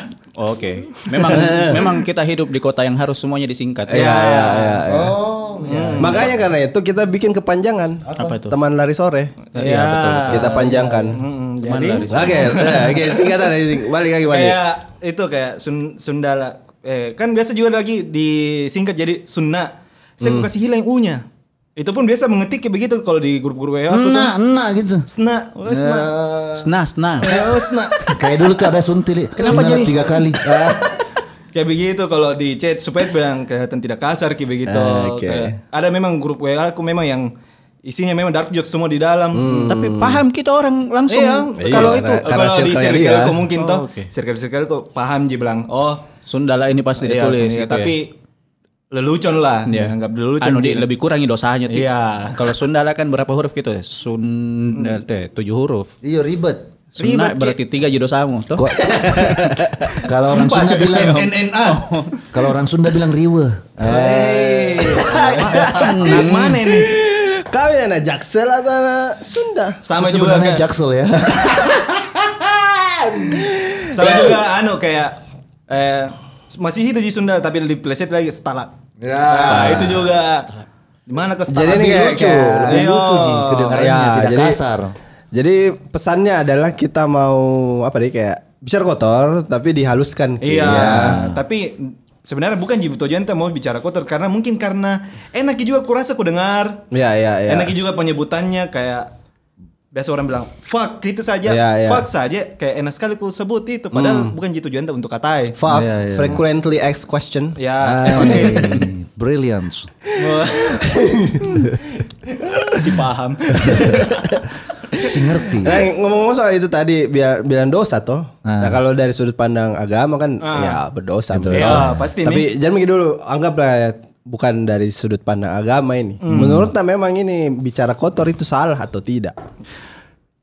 D: Oke. Memang memang kita hidup di kota yang harus semuanya disingkat. Ya.
C: Iya iya iya. iya.
B: Oh
C: Makanya karena itu kita bikin kepanjangan.
D: Apa itu?
C: Teman lari sore. Nah,
E: Iya, betul, betul.
C: Kita panjangkan.
E: Mm-mm, jadi
C: Oke, eh, oke, singkatan singkatan. Balik lagi, balik.
E: kayak itu kayak sun, Sundala. Eh, kan biasa juga lagi disingkat jadi Sunna. Saya
C: Mm.
E: kasih hilang U-nya. Itu pun biasa mengetik kayak begitu kalau di grup-grup WA aku
C: Nah.
E: tuh.
B: enak enak gitu
E: Sna, oh, sna.
D: Sna sna.
E: Oh, sna.
B: kayak dulu tuh ada suntil
D: Kenapa
B: suntilan
D: jadi-
B: tiga kali Ah,
E: Kayak begitu kalau di chat supaya bilang kelihatan tidak kasar kayak begitu.
C: Ah, Oke.
E: Kayak- ada memang grup WA aku memang yang isinya memang dark jokes semua di dalam.
D: Tapi paham kita orang langsung.
E: Iya,
C: Hmm. Iya,
E: kalau
C: karena-
E: itu
C: karena
E: kalau di
C: circle-nya
E: circle
C: dia.
E: kok mungkin toh. Circle-circle kok paham ji bilang, "Oh,
D: Sundala ini pasti
E: iya,
D: ditulis
E: sini,
D: gitu
E: tapi
D: ya.
E: lelucon lah,
D: Iya.
E: dianggap lelucon.
D: Anu di,
E: gitu.
D: lebih kurangi dosanya Ti.
E: Iya. Hmm.
D: Kalau Sundala kan berapa huruf gitu ya? Sundala teh eh, tujuh huruf.
B: iya ribet
D: Sunnah berarti tiga jodosamu toh.
B: Kok- kalau orang Sunda bilang
E: SNNA.
B: kalau orang Sunda bilang riwe.
E: Anak mana ini?
C: Kami anak Jaksel atau anak Sunda?
E: Sama juga
B: sebenarnya
E: kayak,
B: jaksel ya.
E: sama juga anu kayak eh, masih itu di Sunda tapi dipleset lagi stalak.
B: Ah.
E: Nah, itu juga. Di Iya. mana ke stalak?
C: Jadi ini
B: Lebih
C: kayak,
B: lucu,
C: kayak-
B: lebih lucu Ji,
E: Ayo.
B: kedengarannya
C: Ya,
B: tidak
C: jadi-
B: kasar.
C: Jadi pesannya adalah kita mau apa deh kayak bicara kotor tapi dihaluskan.
E: Iya. Tapi sebenarnya bukan Jibu tujuan kita mau bicara kotor karena mungkin karena enak juga kurasa ku dengar.
C: Iya iya iya.
E: Enak juga penyebutannya kayak biasa orang bilang fuck itu saja,
C: Iya, iya.
E: fuck saja kayak enak sekali ku sebut itu padahal bukan Jibu tujuan kita untuk katai.
C: Fuck, Ah, iya, frequently asked question.
E: Ya,
B: Hai, ah, brilliant.
E: si paham.
C: Iya,
B: Si ngerti.
C: Nah, ngomong-ngomong soal itu tadi biar bilang dosa toh. Nah, kalau dari sudut pandang agama kan ya berdosa.
E: Iya, pasti
C: Tapi jangan begitu dulu, anggaplah ya, bukan dari sudut pandang agama ini. Menurut tak memang ini bicara kotor itu salah atau tidak?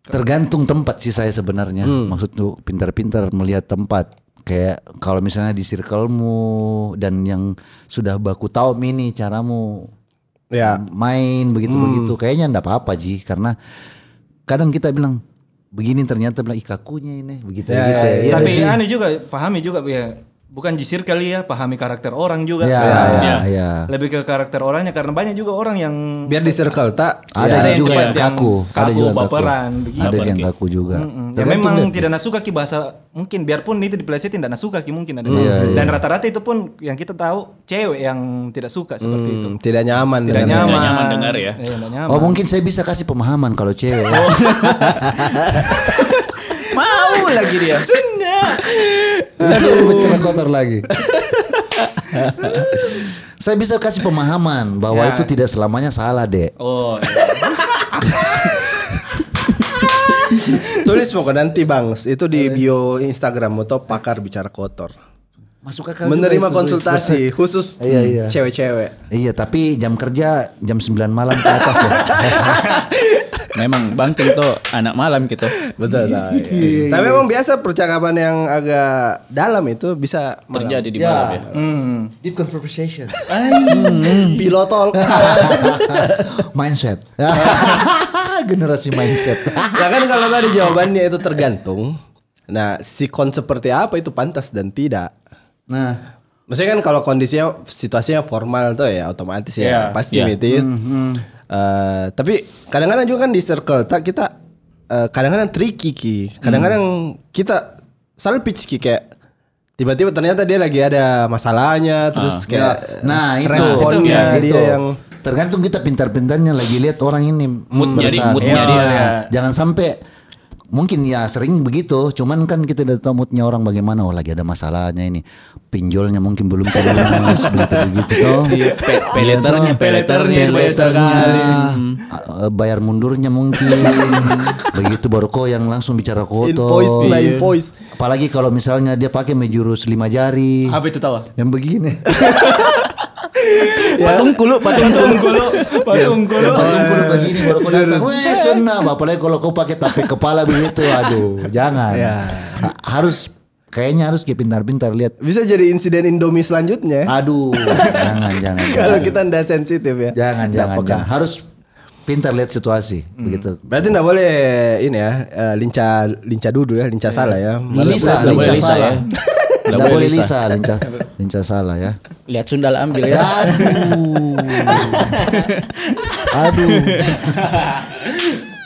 B: Tergantung tempat sih saya sebenarnya. Maksud tuh pintar-pintar melihat tempat. Kayak kalau misalnya di circlemu dan yang sudah baku tahu ini caramu
C: Ya.
B: main begitu-begitu kayaknya enggak apa-apa Ji karena kadang kita bilang begini ternyata bilang "Ih, kakunya ini begitu
C: Ya,
B: begitu.
C: ya,
B: Iya
E: Tapi
B: nggak sih?
E: aneh juga, pahami juga ya. Bukan jisir kali ya, pahami karakter orang juga.
C: Iya,
B: Ya,
E: Ya.
B: ya, ya.
E: Lebih ke karakter orangnya karena banyak juga orang yang
C: Biar di circle tak Ya.
B: Ada
E: Ada yang
B: juga
E: cepat,
B: yang
E: yang
B: kaku, ada
E: kaku,
B: juga yang kaku.
E: baperan, begitu.
B: Ada yang
D: Baperan.
B: kaku juga.
E: Mm, ya
B: Tergantung
E: memang
B: lihat.
E: tidak nasuka ki bahasa mungkin biarpun itu dipelesetin tidak nasuka ki mungkin ada dan rata-rata itu pun yang kita tahu cewek yang tidak suka seperti itu
C: Hmm, tidak nyaman
E: tidak
C: dengan-
E: nyaman
D: nyaman dengar ya.
E: Iya, tidak nyaman.
B: Oh mungkin saya bisa kasih pemahaman kalau cewek.
D: Mau lagi dia.
B: Bicara kotor lagi. saya bisa kasih pemahaman bahwa
E: Ya.
B: itu tidak selamanya salah dek.
E: oh
C: Tulis pokoknya nanti Bang, itu di bio Instagram atau pakar bicara kotor.
B: Masuk akal. juga itu,
C: Menerima
B: Dek.
C: konsultasi khusus
B: Iya, iya.
C: cewek-cewek.
B: Iya tapi jam kerja jam 9 malam ke atas ya.
D: Memang bangking tuh anak malam gitu.
C: Betul. nah, iya. Tapi memang biasa percakapan yang agak dalam itu bisa
D: Terjadi di
B: Ya.
D: malam ya.
B: Deep conversation.
C: Hmm. pilotol.
B: mindset. Generasi mindset.
C: nah kan kalau tadi jawabannya itu tergantung. Nah, sikon seperti apa itu pantas dan tidak.
B: Nah
C: Maksudnya kan kalau kondisinya situasinya formal tuh ya otomatis ya
E: Iya,
C: pasti
D: iya.
C: meeting.
B: Hmm,
C: Eh, tapi kadang-kadang juga kan di circle tak kita eh, kadang-kadang tricky ki.
B: Hmm.
C: Kadang-kadang kita salah pitch ki kayak tiba-tiba ternyata dia lagi ada masalahnya terus kayak
B: nah
C: eh,
B: itu.
C: responnya
B: Nah,
C: dia
B: itu.
D: gitu.
C: yang
B: tergantung kita pintar-pintarnya lagi lihat orang ini
D: Mood jadi-
B: bersaat.
D: moodnya
B: Iya,
D: dia. ya.
B: Jangan sampai mungkin ya sering begitu, cuman kan kita tidak tahu moodnya orang bagaimana. Oh lagi ada masalahnya ini, pinjolnya mungkin belum terlunas begitu begitu toh.
D: Iya, pe- peleternya, peleternya itu banyak
B: Peleternya,
D: sekali.
B: eh, bayar mundurnya mungkin begitu baru kok yang langsung bicara kotor.
C: invoice by
D: Iya.
C: invoice.
B: Apalagi kalau misalnya dia pakai menjurus lima jari.
E: apa itu tawa
B: Yang begini.
D: Patung kulu, patung kulu.
E: patung
B: Yang
E: kulo
B: patung kuda begini baru kau datang. Weh, sunnah. Apalagi kalau kau pakai tape kepala begitu. Aduh, jangan.
C: Ya.
B: Ha- Harus kayaknya harus kayak pintar-pintar lihat.
C: Bisa jadi insiden Indomie selanjutnya.
B: Aduh, jangan jangan.
C: Eh? Kalau
B: jangan.
C: kita ndak sensitif
B: iya.
C: ya.
B: jangan
C: Ndak
B: jangan,
C: peka.
B: jangan. Harus pintar lihat situasi
D: Hmm.
B: begitu.
C: Berarti nggak boleh ini ya eh, lincah lincah dudul ya lincah salah
B: Iya.
C: ya.
B: Lisa,
D: boleh
B: lincah
D: Lisa,
B: salah.
D: ya. Nggak
B: Nggak
D: boleh
B: boleh
D: Lisa.
B: Lisa, lincah lincah salah ya.
D: Lihat Sundal ambil ya.
B: Aduh. Aduh.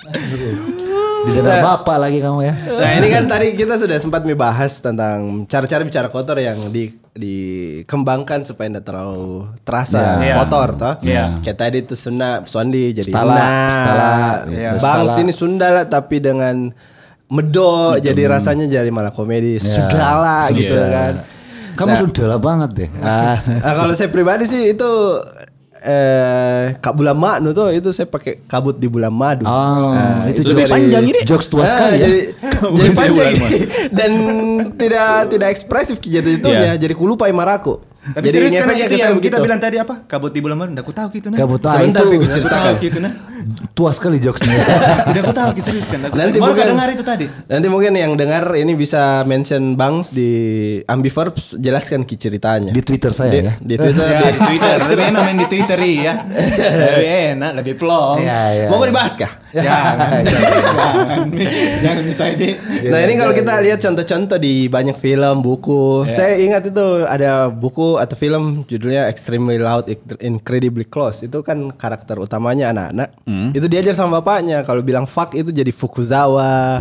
B: Di dada bapak lagi kamu ya.
C: Nah ini kan tadi kita sudah sempat membahas tentang cara-cara bicara kotor yang di dikembangkan supaya tidak terlalu terasa
E: Iya.
C: kotor, toh.
E: Iya.
C: Kayak tadi itu Sunda, Suandi jadi
B: Stala,
C: Nah,
B: Stala,
C: iya.
B: gitu,
C: Bang
B: Stala. Gitu.
C: sini Sunda lah tapi dengan medo jadi rasanya jadi malah komedi
B: Iya.
C: sudahlah gitu
B: Sudah.
C: kan.
E: Iya.
B: Kamu
C: Nah.
B: sudah lah banget deh. Ah.
C: Nah, kalau saya pribadi sih itu eh kak bulan madu tuh itu saya pakai kabut di bulan madu. Nah,
B: Oh, itu
D: lebih
B: jokes
D: panjang ini.
B: Jokes tua
C: Ah,
B: sekali ya.
C: Jadi, jadi
D: Bulan
C: panjang
D: Madu.
C: dan tidak tidak ekspresif jadi itu ya.
D: Iya.
C: Jadi kulupai maraku.
E: Tapi
C: Jadi
E: serius
C: ngefek
E: karena
C: ya ke
E: itu yang
C: saya
E: kita
C: begitu.
E: bilang tadi apa? Kabut di bulan baru, enggak aku tahu gitu nah.
B: Kabut, ah,
E: Sebentar,
B: itu,
E: Pi,
B: itu
E: aku
B: tahu.
E: tahu gitu nah.
B: Tua sekali jokesnya.
E: Udah aku tahu serius kan. aku
C: Nanti
E: tahu. Mau
C: mungkin-
E: nggak dengar itu tadi.
C: Nanti mungkin yang dengar ini bisa mention Bangs di Ambiverbs jelaskan ki ceritanya.
A: Di Twitter saya
C: Di-
A: ya.
C: Di Twitter.
D: Ah,
E: Ya,
C: di-
E: di Twitter. Lebih enak main di Twitter ya. Lebih enak, lebih plong.
B: Iya, iya.
C: Mau dibahas kah?
E: Jangan, jangan, jangan misalnya deh.
C: nah ini kalau kita lihat contoh-contoh di banyak film, buku. Saya ingat itu ada buku atau film judulnya Extremely Loud, Incredibly Close. Itu kan karakter utamanya anak-anak. Itu diajar sama bapaknya. Kalau bilang fuck itu jadi Fukuzawa.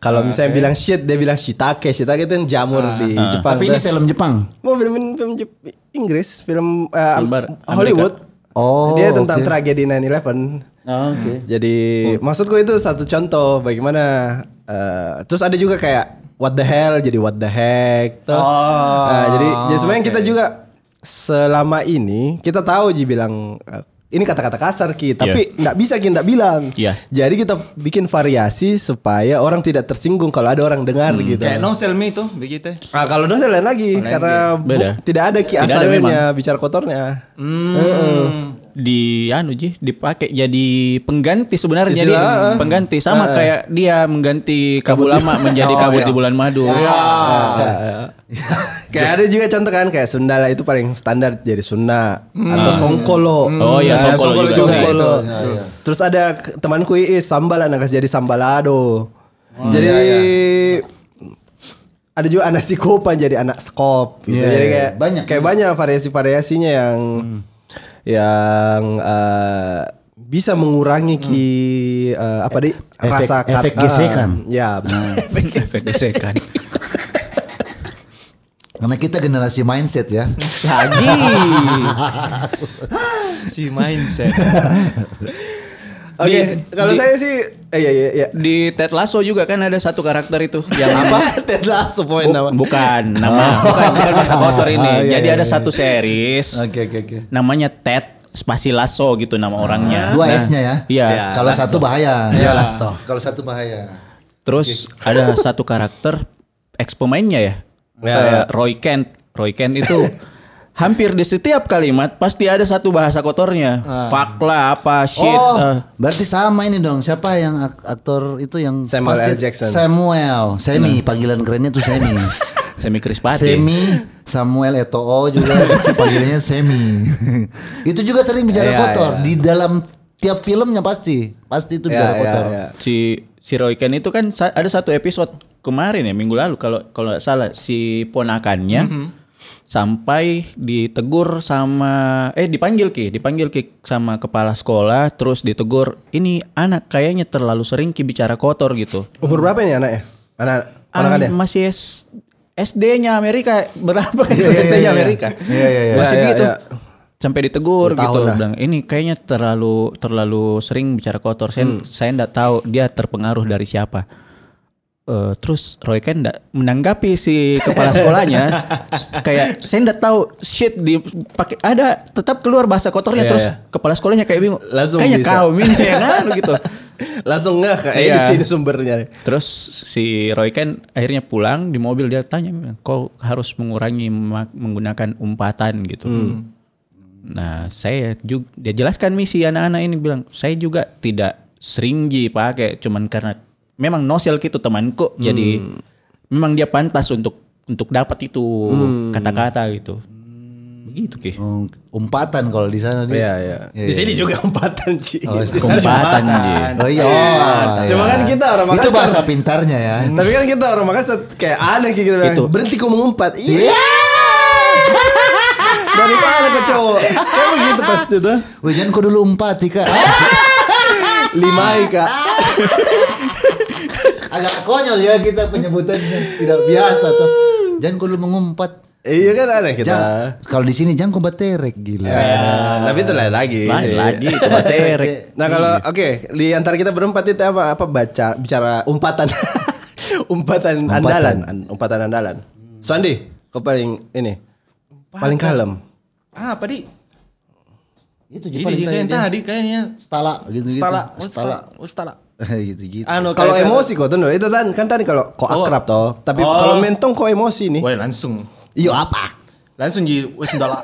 C: Kalau misalnya bilang shit dia bilang shitake. Shitake itu yang jamur di Jepang.
B: Tapi ini
C: Nah,
B: film Jepang.
C: mau film film Jep- Inggris, film, eh,
D: Film barat,
C: Hollywood.
B: Oh,
C: dia tentang
B: oke.
C: tragedi 9/11.
B: Oh, Oke.
C: Jadi
D: Hmm.
C: maksudku itu satu contoh bagaimana eh, terus ada juga kayak what the hell jadi what the heck tuh.
D: Ah,
C: Nah, jadi jadi sebenarnya kita juga selama ini kita tahu Ji bilang eh, ini kata-kata kasar Ki, tapi nggak bisa Ki nggak bilang.
D: Iya.
C: Jadi kita bikin variasi supaya orang tidak tersinggung kalau ada orang dengar
D: Hmm,
C: gitu.
E: Kayak no sell me itu begitu.
C: Ah, kalau dosa lain lagi karena bu-
D: Beda.
C: tidak ada ki
D: Tidak ada Hmm.
C: asalnya bicara kotornya.
D: di anu Ji, dipakai jadi pengganti sebenarnya jadi
C: Istilah, ah.
D: pengganti sama kayak dia mengganti eh. kabut Oh, iya. Ya. lama menjadi kabut di bulan madu.
C: Kayak ada juga contoh kan kayak Sundala itu paling standar jadi Sunda atau Songkolo.
D: Oh, iya,
C: Nah,
D: Songkolo juga saya.
C: Songkolo. Terus ada k- temanku Iis Sambal anak kasih jadi Sambalado. jadi ada juga anak Sikopan jadi anak Skop gitu.
B: Iya,
C: jadi
B: iya,
C: kayak
B: banyak.
C: kayak banyak variasi-variasinya yang yang eh, bisa mengurangi ki eh, apa deh
A: Efek-
C: rasa kat-
A: efek gesekan.
C: ah, ya.
D: Eh, Efek gesekan.
B: Karena kita generasi mindset ya.
D: Lagi.
E: Si mindset.
C: Oke,
D: Di-
C: kalau
D: di-
C: saya sih eh, iya iya iya.
D: Di Ted Lasso juga kan ada satu karakter itu yang
C: apa Ted Lasso poin
D: Bu-
C: nama
D: bukan nama bukan bukan bahasa kotor ini.
C: Ah, iya,
D: Jadi
C: iya,
D: ada
C: iya.
D: satu series
B: Oke oke oke.
D: namanya Ted spasi Lasso gitu nama orangnya.
B: Dua
D: Nah,
B: S-nya ya.
D: Iya.
B: Kalau satu bahaya.
C: Iya, Lasso.
B: Kalau satu bahaya.
D: Terus ada satu karakter ex pemainnya ya. Eh, Roy Kent. Roy Kent itu hampir di setiap kalimat pasti ada satu bahasa kotornya. Fuck lah apa shit.
B: oh,
C: Ah.
D: eh.
B: berarti sama ini dong. Siapa yang ak- aktor itu yang
C: Samuel L. Jackson.
B: Samuel, Semi, panggilan kerennya tuh Semi.
D: Semi Krispati.
B: Semi, Samuel Eto'o juga panggilannya Semi. itu juga sering bicara
C: Iya,
B: kotor
C: iya.
B: di dalam tiap filmnya pasti, pasti itu bicara
C: Iya, iya,
B: kotor.
C: iya.
D: si si Roy Ken itu kan sa- ada satu episode kemarin ya minggu lalu kalau kalau nggak salah si ponakannya sampai ditegur sama eh dipanggil ki dipanggil ki sama kepala sekolah terus ditegur ini anak kayaknya terlalu sering ki bicara kotor gitu
C: umur berapa ini anaknya anak
D: Anak
C: anak
D: masih S- SD-nya Amerika berapa itu
B: iya, iya,
D: SD-nya
B: iya.
D: Amerika
B: Iya, iya, iya.
C: Iya,
D: masih
C: iya,
D: gitu
C: iya.
D: sampai ditegur
C: Dua
D: gitu
C: tahun lah.
D: bilang ini kayaknya terlalu terlalu sering bicara kotor saya saya enggak tahu dia terpengaruh dari siapa Eh, terus Roy Ken nggak menanggapi si kepala sekolahnya S- kayak saya enggak tahu shit dipakai ada tetap keluar bahasa kotornya
C: Iya,
D: terus
C: iya.
D: kepala sekolahnya kayak bingung
C: Langsung
D: kayaknya
C: bisa.
D: kau ini yang anu gitu
C: langsung nggak kayak di
D: Iya.
C: sini sumbernya
D: Terus si Roy Ken akhirnya pulang di mobil dia tanya, kau harus mengurangi ma- menggunakan umpatan gitu. Nah saya juga dia jelaskan misi anak-anak ini bilang saya juga tidak sering ji pakai, cuman karena memang nosel gitu temanku, jadi memang dia pantas untuk untuk dapat itu kata-kata gitu. Begitu ki.
B: Hmm, Umpatan kalau di sana dia.
C: Iya iya. Oh, Di sini juga empatan sih.
D: Umpatan ji.
B: Oh iya. oh,
C: Cuma
B: iya.
C: kan kita orang
B: Itu
C: Makassar.
B: bahasa pintarnya ya.
C: Tapi kan kita orang Makassar kayak aneh kayak gitu bilang,
D: Itu.
C: Berhenti kau mengumpat. Iya. Dari mana kau cowok? Kayak begitu pasti tuh.
B: Wajan kau dulu umpat, Ika.
C: Lima kak.
B: Agak konyol ya kita penyebutannya tidak biasa tuh. Jangan kau dulu mengumpat.
C: Iya kan aneh kita.
B: Jang- kalau di sini jangan kau baterek gila.
C: Ya, tapi itu lain lagi.
D: Lain lagi, itu
C: Baterik.
D: baterik.
C: Nah kalau oke di antara kita berempat itu apa apa baca bicara umpatan umpatan, andalan An- umpatan andalan. Sandi, kau paling ini paling kalem.
E: Ah, apa di?
B: Itu
E: Itu
B: Jepang
E: kayak yang
B: tadi.
E: tadi kayaknya.
B: Stala gitu gitu.
E: Stala, Oh,
B: Stala.
E: Ustala, Ustala.
B: gitu gitu.
E: Anu
C: Kalau
E: kayak- Oh.
C: emosi kau tuh itu kan kan tadi kalau kau akrab toh, tapi kalau mentong kau emosi nih.
E: Wah, langsung.
C: Iyo apa?
E: langsung di wes udah lah.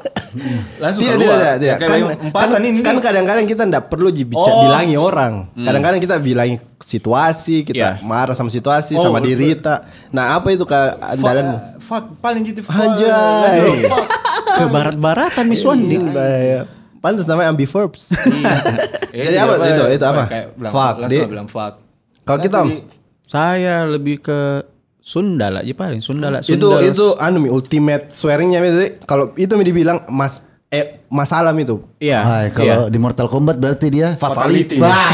E: langsung
C: Tidak,
E: Kan keluar.
C: tidak, tidak, tidak.
E: Kayak
C: Kan,
E: empatan
C: kan-
E: ini.
C: kan kadang-kadang kita nggak perlu ji- bica-
E: Oh.
C: bilangi orang. Kadang-kadang kita bilangi situasi, kita
D: Iya.
C: marah sama situasi,
E: Oh,
C: sama
E: betul.
C: diri kita. Nah, apa itu keandalanmu?
E: fuck paling gitu fuck.
C: Anjay.
E: Fuck.
D: Ke barat-baratan Miss Wandi.
C: Iya. Pantes namanya ambiverbs.
E: Iya,
C: Jadi
E: iya,
C: apa
E: apa,
C: itu? Itu apa?
E: Kayak bilang,
C: Fuck.
E: langsung
C: Di,
E: lah bilang fuck.
C: kalau kita Om,
D: Saya lebih ke Sundala aja paling Sundala
C: itu
D: Sundala.
C: itu anu Mi, ultimate swearingnya Mi, Di. kalau itu Mi dibilang Mas eh Mas Alam itu.
D: Iya.
B: Hai, kalau di Mortal Kombat berarti dia
E: Fatality.
B: Wah,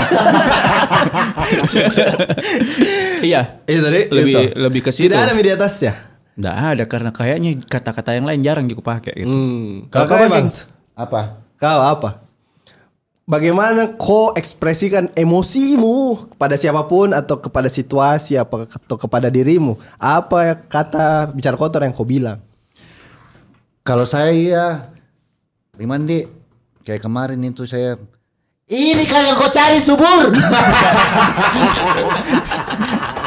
D: Iya.
C: Itu Di,
D: Lebih
C: itu.
D: lebih ke situ.
C: Tidak ada Mi di ya? atasnya.
D: Nggak ada karena kayaknya kata-kata yang lain jarang aku pakai gitu.
C: Kalau kau Bang,
B: apa?
C: kau apa? Bagaimana kau ekspresikan emosimu kepada siapapun atau kepada situasi apa atau kepada dirimu? Apa ya kata bicara kotor yang kau bilang?
B: Kalau saya Riman Di, kayak kemarin itu saya ini kan yang kau cari subur.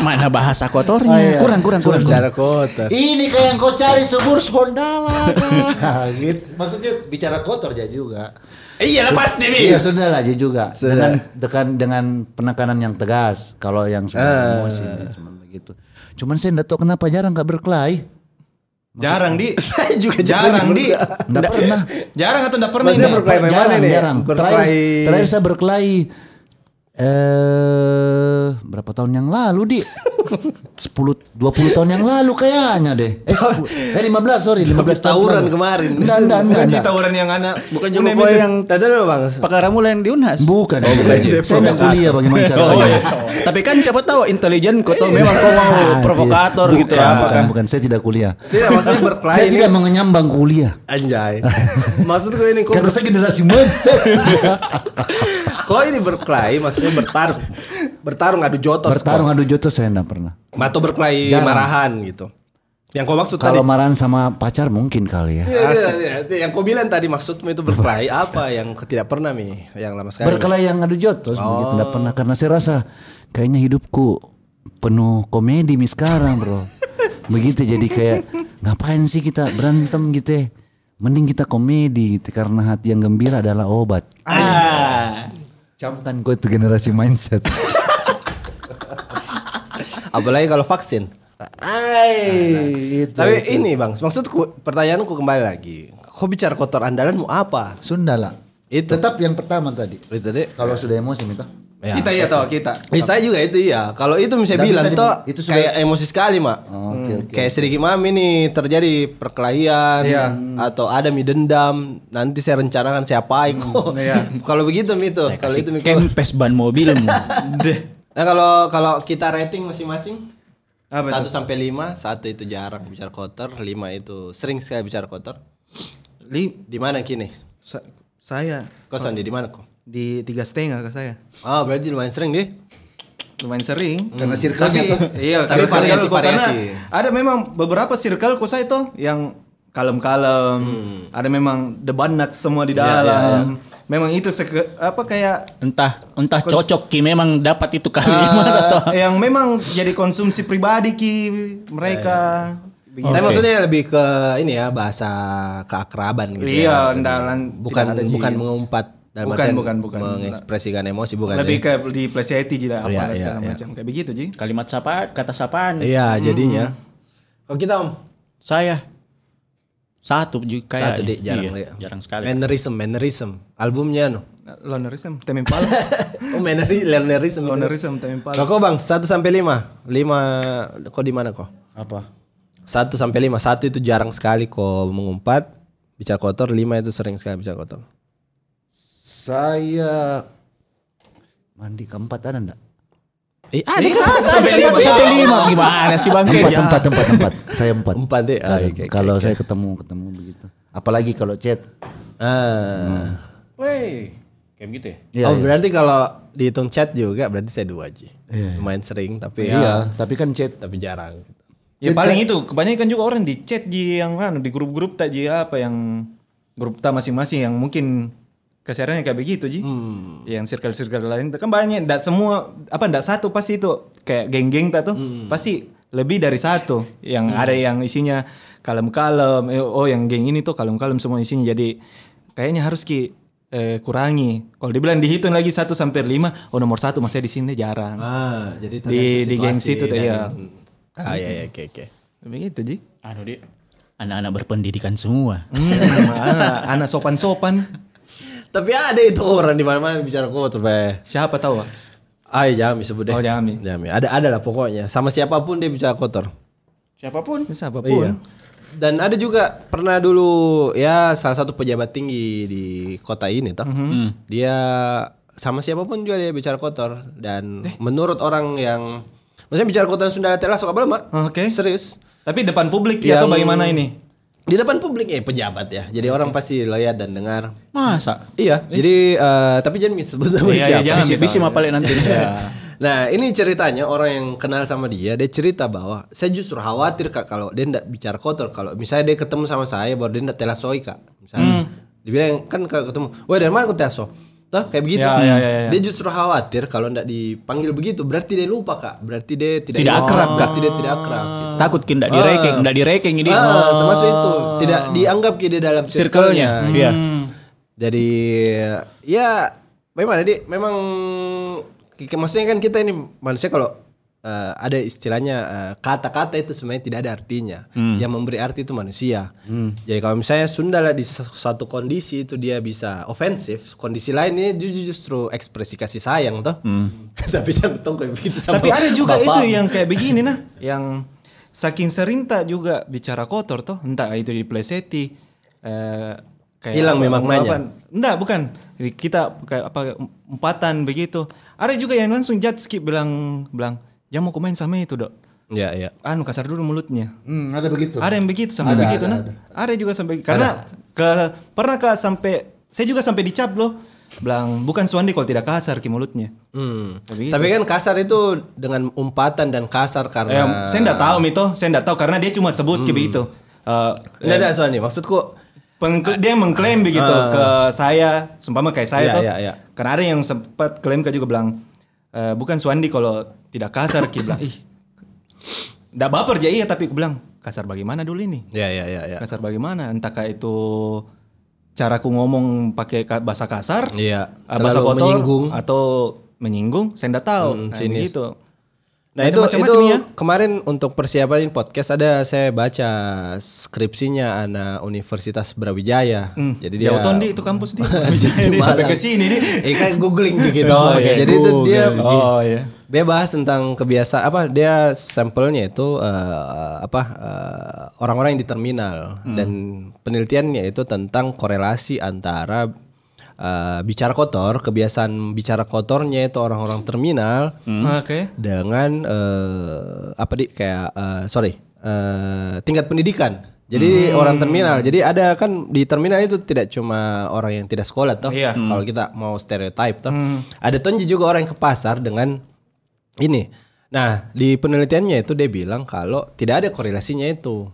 D: Mana bahasa kotornya?
B: Oh, iya.
D: Kurang kurang kurang.
C: Bicara kotor.
B: ini kayak yang kau cari subur Sondala. Nah, gitu. Maksudnya bicara kotor aja juga.
C: Eh,
D: Iya pasti
B: Iya sudah lah dia juga dengan dengan dengan penekanan yang tegas kalau yang sudah
C: Eh.
B: emosi ya, cuman begitu. Cuman saya enggak tahu kenapa jarang nggak berkelahi.
E: Jarang di.
C: Saya juga
E: jarang di.
B: Enggak pernah.
E: Jarang atau enggak pernah
C: Maksudnya
E: ini?
C: berkelahi memang
B: jarang,
C: ini? ya?
B: jarang. Terakhir,
C: Berkelahi.
B: terakhir saya berkelahi eh berapa tahun yang lalu, Di? 10 20 tahun yang lalu kayaknya deh. Eh, 10 eh 15 sorry, 15 tahun
C: tawuran
B: lalu.
C: kemarin.
B: Enggak, enggak, enggak,
E: Ini
B: enggak.
E: tawuran yang anak
D: Bukan
E: Unem
D: juga
E: itu.
D: kau yang
C: Tadi dulu Bang.
D: perkara mula yang diunhas.
B: Bukan.
C: Oh, iya,
B: saya enggak kuliah bagaimana caranya.
D: Oh, Tapi kan siapa tahu intelijen kau tahu memang kau mau
B: iya. Ah,
D: provokator
B: bukan,
D: gitu ya.
B: Bukan, bukan, saya tidak kuliah.
C: Tidak maksudnya berkelahi.
B: saya
C: ini-
B: tidak menyambang kuliah.
C: Anjay. Maksudku ini kok
B: Karena saya generasi mindset.
C: kok ini berkelahi maksudnya bertarung. Bertarung adu jotos.
B: Bertarung adu jotos saya enggak pernah.
C: kok. Atau berkelahi
B: Jarang.
C: marahan gitu. Yang kau maksud
B: Kalau
C: tadi Iya,
B: marahan sama pacar mungkin kali ya.
D: Iya,
C: Tidak, tidak, tidak. Yang kau bilang tadi maksudmu itu berkelahi apa yang kau tidak pernah mi yang lama sekali.
B: Berkelahi yang adu jotos begitu
D: Oh.
B: enggak pernah karena saya rasa kayaknya hidupku penuh komedi mi sekarang, Bro. Begitu jadi kayak ngapain sih kita berantem gitu ya. Mending kita komedi gitu karena hati yang gembira adalah obat.
D: Ah.
B: Camkan gue itu generasi mindset.
C: Apalagi kalau vaksin.
B: Ay, itu.
C: Tapi ini bang, maksudku pertanyaanku kembali lagi. Kau bicara kotor andalanmu apa?
B: Sunda lah.
C: Itu.
B: Tetap yang pertama tadi.
C: Itu deh.
B: Kalau sudah emosi minta.
C: Ya.
E: Kita iya toh kita.
C: Eh, saya juga itu iya. Kalau itu bisa
B: Nggak
C: bilang
B: bisa di-
C: toh
B: itu sudah- Oh,
C: kayak emosi sekali, Mak.
B: oke, Iya.
C: Hmm. Kayak sedikit mami nih terjadi perkelahian atau ada mi dendam, nanti saya rencanakan
B: Hmm,
C: siapa kok.
B: iya.
C: kalau begitu mi itu, kalau itu mi keluar.
D: Kempes ban mobilmu.
C: Nah, kalau kalau kita rating masing-masing
E: Apa
C: satu sampai lima, satu itu jarang bicara kotor, lima itu sering sekali bicara kotor.
E: Li,
C: Di mana kini?
E: sa- saya
C: Kau
B: Oh.
C: Sandi di mana kok?
E: di tiga setengah ke saya.
C: Oh, berarti lumayan sering deh.
E: Lumayan sering.
B: Karena circle-nya
E: Tapi-
B: tuh.
E: Iya,
C: Hmm. Tapi
E: tapi
C: variasi-
E: variasi,
C: variasi.
E: ada memang beberapa circle ku saya tuh yang kalem-kalem.
C: Hmm.
E: Ada memang debanak semua
C: Iya,
E: di dalam. Memang itu seke- apa kayak
D: Entah entah cocok ki memang dapat itu kalimat atau
E: Ah, yang memang jadi konsumsi pribadi ki mereka.
C: Iya, Tapi maksudnya lebih ke ini ya bahasa keakraban gitu
E: Iya,
C: ya.
E: andalan
C: bukan
E: tidak ada, Ji.
C: bukan mengumpat dalam
E: Bukan,
C: artian
E: bukan, bukan.
C: mengekspresikan emosi bukan ya.
E: lebih kayak di plesetti jadi apa
C: Iya,
E: lah
C: iya,
E: segala
C: iya.
E: macam kayak begitu ji.
D: kalimat sapaan, kata sapaan.
C: iya jadinya
E: Hmm.
C: kalau kita om
D: Saya satu ju- kayak
C: satu deh jarang Dek.
D: iya, jarang sekali.
C: mannerism mannerism albumnya no
E: Lonerism, Tame Impala.
C: oh manneri- mannerism
E: Lonerism, Tame Impala.
C: Lah, kok bang satu sampai lima lima kok di mana kok
B: Apa?
C: satu sampai lima satu itu jarang sekali kok mengumpat bicara kotor lima itu sering sekali bicara kotor
B: Saya mandi keempat ada enggak?
C: eh, ada
E: Iya,
C: kan satu sampai lima
D: Sampai lima gimana sih Bang?
B: Empat, empat, empat, empat. Saya ya. empat. ya.
C: Empat, deh. Ah,
B: Kalau-
C: oke, oke,
B: kalau saya ketemu, ketemu begitu. Apalagi kalau chat.
C: ah
D: Woi, kayak gitu ya.
B: Iya,
C: oh
B: iya.
C: berarti kalau dihitung chat juga berarti saya dua aja.
E: Iya,
C: Main sering tapi ya,
B: Iya, tapi kan chat.
C: tapi jarang. gitu.
E: Ya paling itu kebanyakan juga orang di chat di yang kan di grup-grup tak ji apa yang grup tak masing-masing yang mungkin keserannya kayak begitu ji. Yang circle-circle lain kan banyak ndak semua apa ndak satu pasti itu kayak geng-geng tak tuh. Pasti lebih dari satu yang ada yang isinya kalem-kalem eh, oh yang geng ini tuh kalem-kalem semua isinya jadi kayaknya harus ki eh, kurangi kalau dibilang dihitung lagi 1 sampai 5 oh nomor satu masih di sini jarang
F: Ah, jadi
E: di di geng situ tuh
F: dan-
E: ya
C: Ah iya iya oke oke.
E: begitu ji
D: Aduh dia Anu, anak-anak berpendidikan semua.
E: Hmm, anak, anak sopan-sopan
C: Tapi ada itu orang di mana-mana bicara kotor, Bay.
E: siapa tahu ah?
C: Ah, Jami sebut deh.
E: Oh, Jami.
C: Jami. Ada ada lah pokoknya. Sama siapapun dia bicara kotor.
D: Siapapun.
E: siapa
C: Iya.
E: pun
C: Dan ada juga pernah dulu ya salah satu pejabat tinggi di kota ini toh.
E: Mhm.
C: Dia sama siapapun juga dia bicara kotor dan
E: Eh.
C: menurut orang yang maksudnya bicara kotor Sunda Telah suka belum,
E: Oke.
C: Serius.
E: tapi depan publik ya atau
C: Yang-
E: bagaimana ini
C: Di depan publik ya pejabat ya. Jadi orang pasti lihat dan dengar.
D: Masa?
C: Iya. Jadi eh, tapi jangan disebut nama
E: Iya, iya,
C: siapa.
E: jangan.
D: Bisa bisa mapalin nanti. Ya.
C: Nah ini ceritanya orang yang kenal sama dia Dia cerita bahwa Saya justru khawatir kak Kalau dia ndak bicara kotor Kalau misalnya dia ketemu sama saya Baru dia ndak telasoi kak Misalnya Dia bilang kan kalau ketemu Wah dari mana aku telaso Tuh kayak begitu
E: Ya, ya, ya, ya.
C: Dia justru khawatir Kalau ndak dipanggil begitu Berarti dia lupa kak Berarti dia tidak,
D: Tidak akrab, Kak.
C: Berarti dia tidak akrab gitu.
D: Takut kindak direkeng, ndak direkeng ini.
C: Ah, termasuk itu Tidak dianggap dia dalam
D: Circle-nya.
C: circle-nya,
D: Iya.
C: jadi ya memang jadi memang ke- ke- maksudnya kan kita ini manusia kalau eh, ada istilahnya eh, kata-kata itu sebenarnya tidak ada artinya.
E: Hmm.
C: Yang memberi arti itu manusia. Jadi kalau misalnya Sunda lah di sa- satu kondisi itu dia bisa ofensif, kondisi lain ini ju- justru ekspresi kasih sayang toh. Tapi jangan tong kayak begitu sama
E: Hmm. Tapi ada juga
C: bapak.
E: itu yang kayak begini nah, yang saking sering tak juga bicara kotor toh, entah itu di pleseti eh, kayak
C: Hilang
E: apa-
C: memaknanya.
E: apa- Enggak, bukan. Jadi kita kayak apa empatan begitu. Ada juga yang langsung judge skip bilang bilang, "Jangan mau main sama itu, Dok."
C: ya ya.
E: Anu kasar dulu mulutnya.
B: Hmm, ada begitu.
E: Ada yang begitu sampai
B: Ada,
E: begitu
B: ada,
E: nah. Ada. juga sampai karena ke pernah ke sampai saya juga sampai dicap loh. Bilang bukan Suandi kalau tidak kasar ki mulutnya.
C: Hmm.
E: Begitu.
C: Tapi kan kasar itu dengan umpatan dan kasar
E: Eh,
C: karena
E: saya enggak tahu Mito, saya enggak tahu karena dia cuma sebut kayak begitu. Eh,
C: Nggak ada Suani, maksudku
E: pengkl- dia mengklaim begitu ke saya, seumpama kayak saya
C: Iya,
E: tuh.
C: iya, iya.
E: Karena ada yang sempat klaim ke juga bilang "Eh, bukan Suandi kalau tidak kasar Ki bilang, ih. Enggak baper aja iya tapi aku bilang kasar bagaimana dulu ini?
C: ya ya ya ya.
E: Kasar bagaimana? Entah kayak itu caraku ngomong pakai ka- bahasa kasar,
C: Iya,
E: eh, bahasa
C: selalu
E: kotor
C: menyinggung.
E: atau menyinggung, saya enggak tahu.
C: Mm-mm,
E: Nah,
C: sinis.
E: begitu.
C: Nah itu
E: Macam-macam
C: itu
E: ya.
C: kemarin untuk persiapan podcast ada saya baca skripsinya anak Universitas Brawijaya. Hmm. Jadi dia
E: Hmm. Jauh ton di itu kampus dia.
C: Di
E: Wijaya dia sampai
C: Malang.
E: ke sini dia.
C: Eh kan googling gitu. Jadi itu dia
E: Oh iya.
C: dia bahas tentang kebiasaan apa dia sampelnya itu eh, apa eh, orang-orang yang di terminal
E: Hmm.
C: dan penelitiannya itu tentang korelasi antara eh, bicara kotor kebiasaan bicara kotornya itu orang-orang terminal
E: Oke.
C: dengan eh, apa di kayak eh, sorry eh, tingkat pendidikan. Jadi orang terminal. Jadi ada kan di terminal itu tidak cuma orang yang tidak sekolah toh.
E: Iya.
C: Kalau kita mau stereotype toh.
E: Hmm.
C: Ada tonji juga orang yang ke pasar dengan ini. Nah, di penelitiannya itu dia bilang kalau tidak ada korelasinya itu.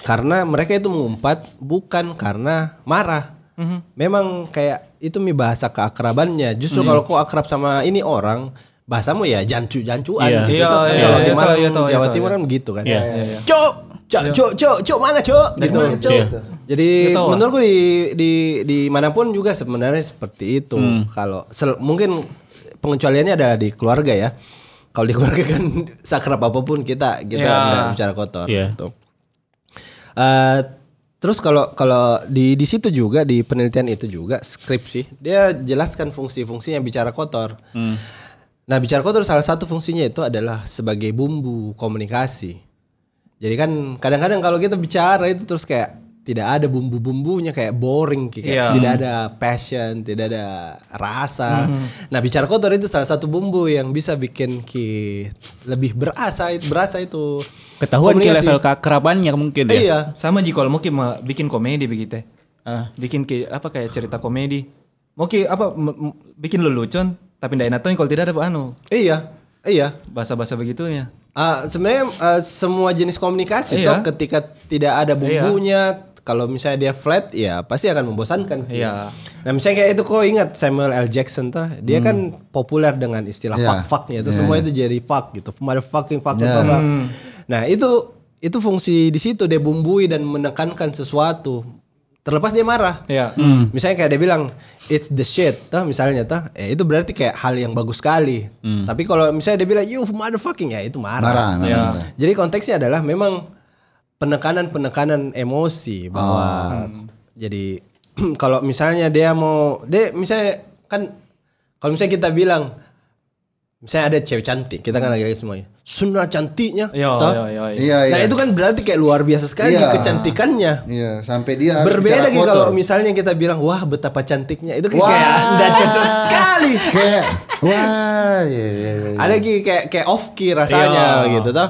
C: Karena mereka itu mengumpat bukan karena marah.
E: Hmm.
C: Memang kayak itu mi bahasa keakrabannya. Justru
E: Hmm.
C: kalau kau akrab sama ini orang, bahasamu ya jancu-jancuan
D: Iya.
C: gitu.
E: Iya,
C: kan.
E: iya,
C: kalau
E: iya,
C: di
E: tahu,
C: Malang,
E: iya, tahu, iya,
C: Jawa
E: tahu,
C: Timur kan begitu kan.
D: Iya.
C: Cok, cok, cok, cok, cok, mana cok? Gitu.
B: Mana, Cok?
C: Iya.
B: Gitu.
C: Jadi
E: Gitu, Wak.
C: menurutku di di di manapun juga sebenarnya seperti itu.
D: Hmm.
C: Kalau sel- mungkin pengecualiannya adalah di keluarga ya. Kalau di keluarga kan sakrap apapun kita kita
E: Ya.
C: nggak bicara kotor.
D: Iya.
C: gitu. Eh, terus kalau kalau di di situ juga di penelitian itu juga skripsi dia jelaskan fungsi-fungsinya bicara kotor.
D: Hmm.
C: Nah bicara kotor salah satu fungsinya itu adalah sebagai bumbu komunikasi. Jadi kan kadang-kadang kalau kita bicara itu terus kayak tidak ada bumbu-bumbunya kayak boring kayak
E: Iya.
C: tidak ada passion, tidak ada rasa.
D: Hmm.
C: Nah, bicara kotor itu salah satu bumbu yang bisa bikin ki lebih berasa berasa itu.
D: Ketahuan ke
C: Komunikasi.
D: level keakrabannya mungkin ya.
C: Iya.
E: Sama Ji kalau mau ki ma- bikin komedi begitu.
D: Ah.
E: Bikin ki apa kayak cerita komedi. Mau ki apa m- m- bikin lelucon tapi ndak enak tuh kalau tidak ada anu
C: Iya. Iya.
E: bahasa-bahasa begitunya.
C: Ah, sebenarnya eh, semua jenis komunikasi
E: Iya.
C: toh ketika tidak ada bumbunya kalau misalnya dia flat ya pasti akan membosankan.
E: Iya.
C: Nah misalnya kayak itu kok ingat Samuel L Jackson tuh
E: Hmm.
C: dia kan populer dengan istilah
B: Iya.
C: fuck fucknya itu semua itu jadi fuck gitu motherfucking fuck
B: Iya.
E: Hmm.
C: atau apa. Nah itu itu fungsi di situ dia bumbui dan menekankan sesuatu. Terlepas dia marah.
E: Iya.
C: Hmm. Misalnya kayak dia bilang it's the shit, tah misalnya tah, eh, itu berarti kayak hal yang bagus sekali. Tapi kalau misalnya dia bilang you motherfucking ya itu
B: Hmm. Marah, marah,
E: Iya.
B: marah.
C: jadi konteksnya adalah memang penekanan-penekanan emosi bahwa
B: Ah.
C: jadi kalau misalnya dia mau dia misalnya kan kalau misalnya kita bilang misalnya ada cewek cantik kita kan lagi semuanya sunah cantiknya
E: Yo,
C: toh?
E: yo, yo, yo.
B: Iya,
C: nah
B: iya.
C: itu kan berarti kayak luar biasa sekali
B: Iya.
C: kecantikannya
B: Iya, sampai dia harus bicara
C: berbeda gitu
B: kotor.
C: kalau misalnya kita bilang wah betapa cantiknya itu kayak
B: Wah.
C: nggak cocok sekali
B: kayak wah, iya, iya, iya.
C: ada kayak kayak, kayak off key rasanya
E: Iya.
C: gitu toh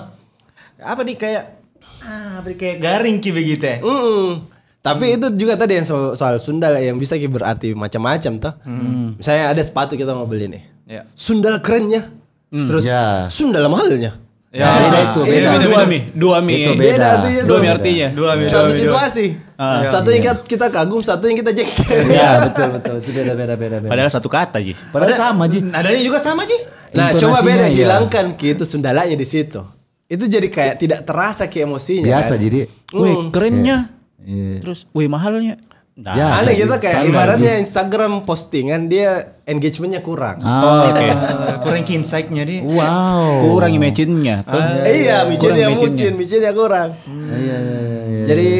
F: Apa nih kayak ah, apa nih, kayak garing ki begitu ya?
C: Uh. Mm-mm.
B: Hmm.
C: Tapi itu juga tadi yang so- soal, Sundal yang bisa ki berarti macam-macam toh.
B: Hmm.
C: Misalnya ada sepatu kita mau beli nih.
E: Iya.
C: Sundal kerennya. Terus
B: Ya.
C: Sundal mahalnya.
E: Ya.
B: Nah, beda itu,
C: Iya,
B: beda.
C: itu
D: dua mi, dua mi.
B: Itu
D: eh.
B: beda.
C: artinya
D: Dua
C: dong.
D: mi artinya.
F: Dua mil.
C: Satu situasi.
D: Ah.
C: Satu yang kita- kita kagum, satu yang kita jengkel.
B: Iya, betul betul. Itu beda beda beda beda.
D: Padahal satu kata sih.
B: Padahal sama Ji.
F: Nadanya juga sama Ji.
C: Nah, coba
B: Intonasinya
C: beda
B: iya.
C: hilangkan ki itu sundalanya di situ. Itu jadi kayak tidak terasa ki emosinya.
B: Biasa
C: kan?
B: jadi.
D: Wih kerennya.
B: Iya.
D: Terus, wih mahalnya. Nah,
B: Ya.
C: Aneh gitu kayak
B: Standar,
C: ibaratnya Instagram postingan dia engagementnya kurang.
B: Ah,
D: oke.
E: eh,
F: Kurang ki insight-nya dia.
B: wow.
D: Kurang imagine-nya. tuh.
C: iya,
D: Kurang
C: micinnya
D: imagine-nya.
C: micin, micinnya kurang.
B: Iya, iya, iya, iya.
C: Jadi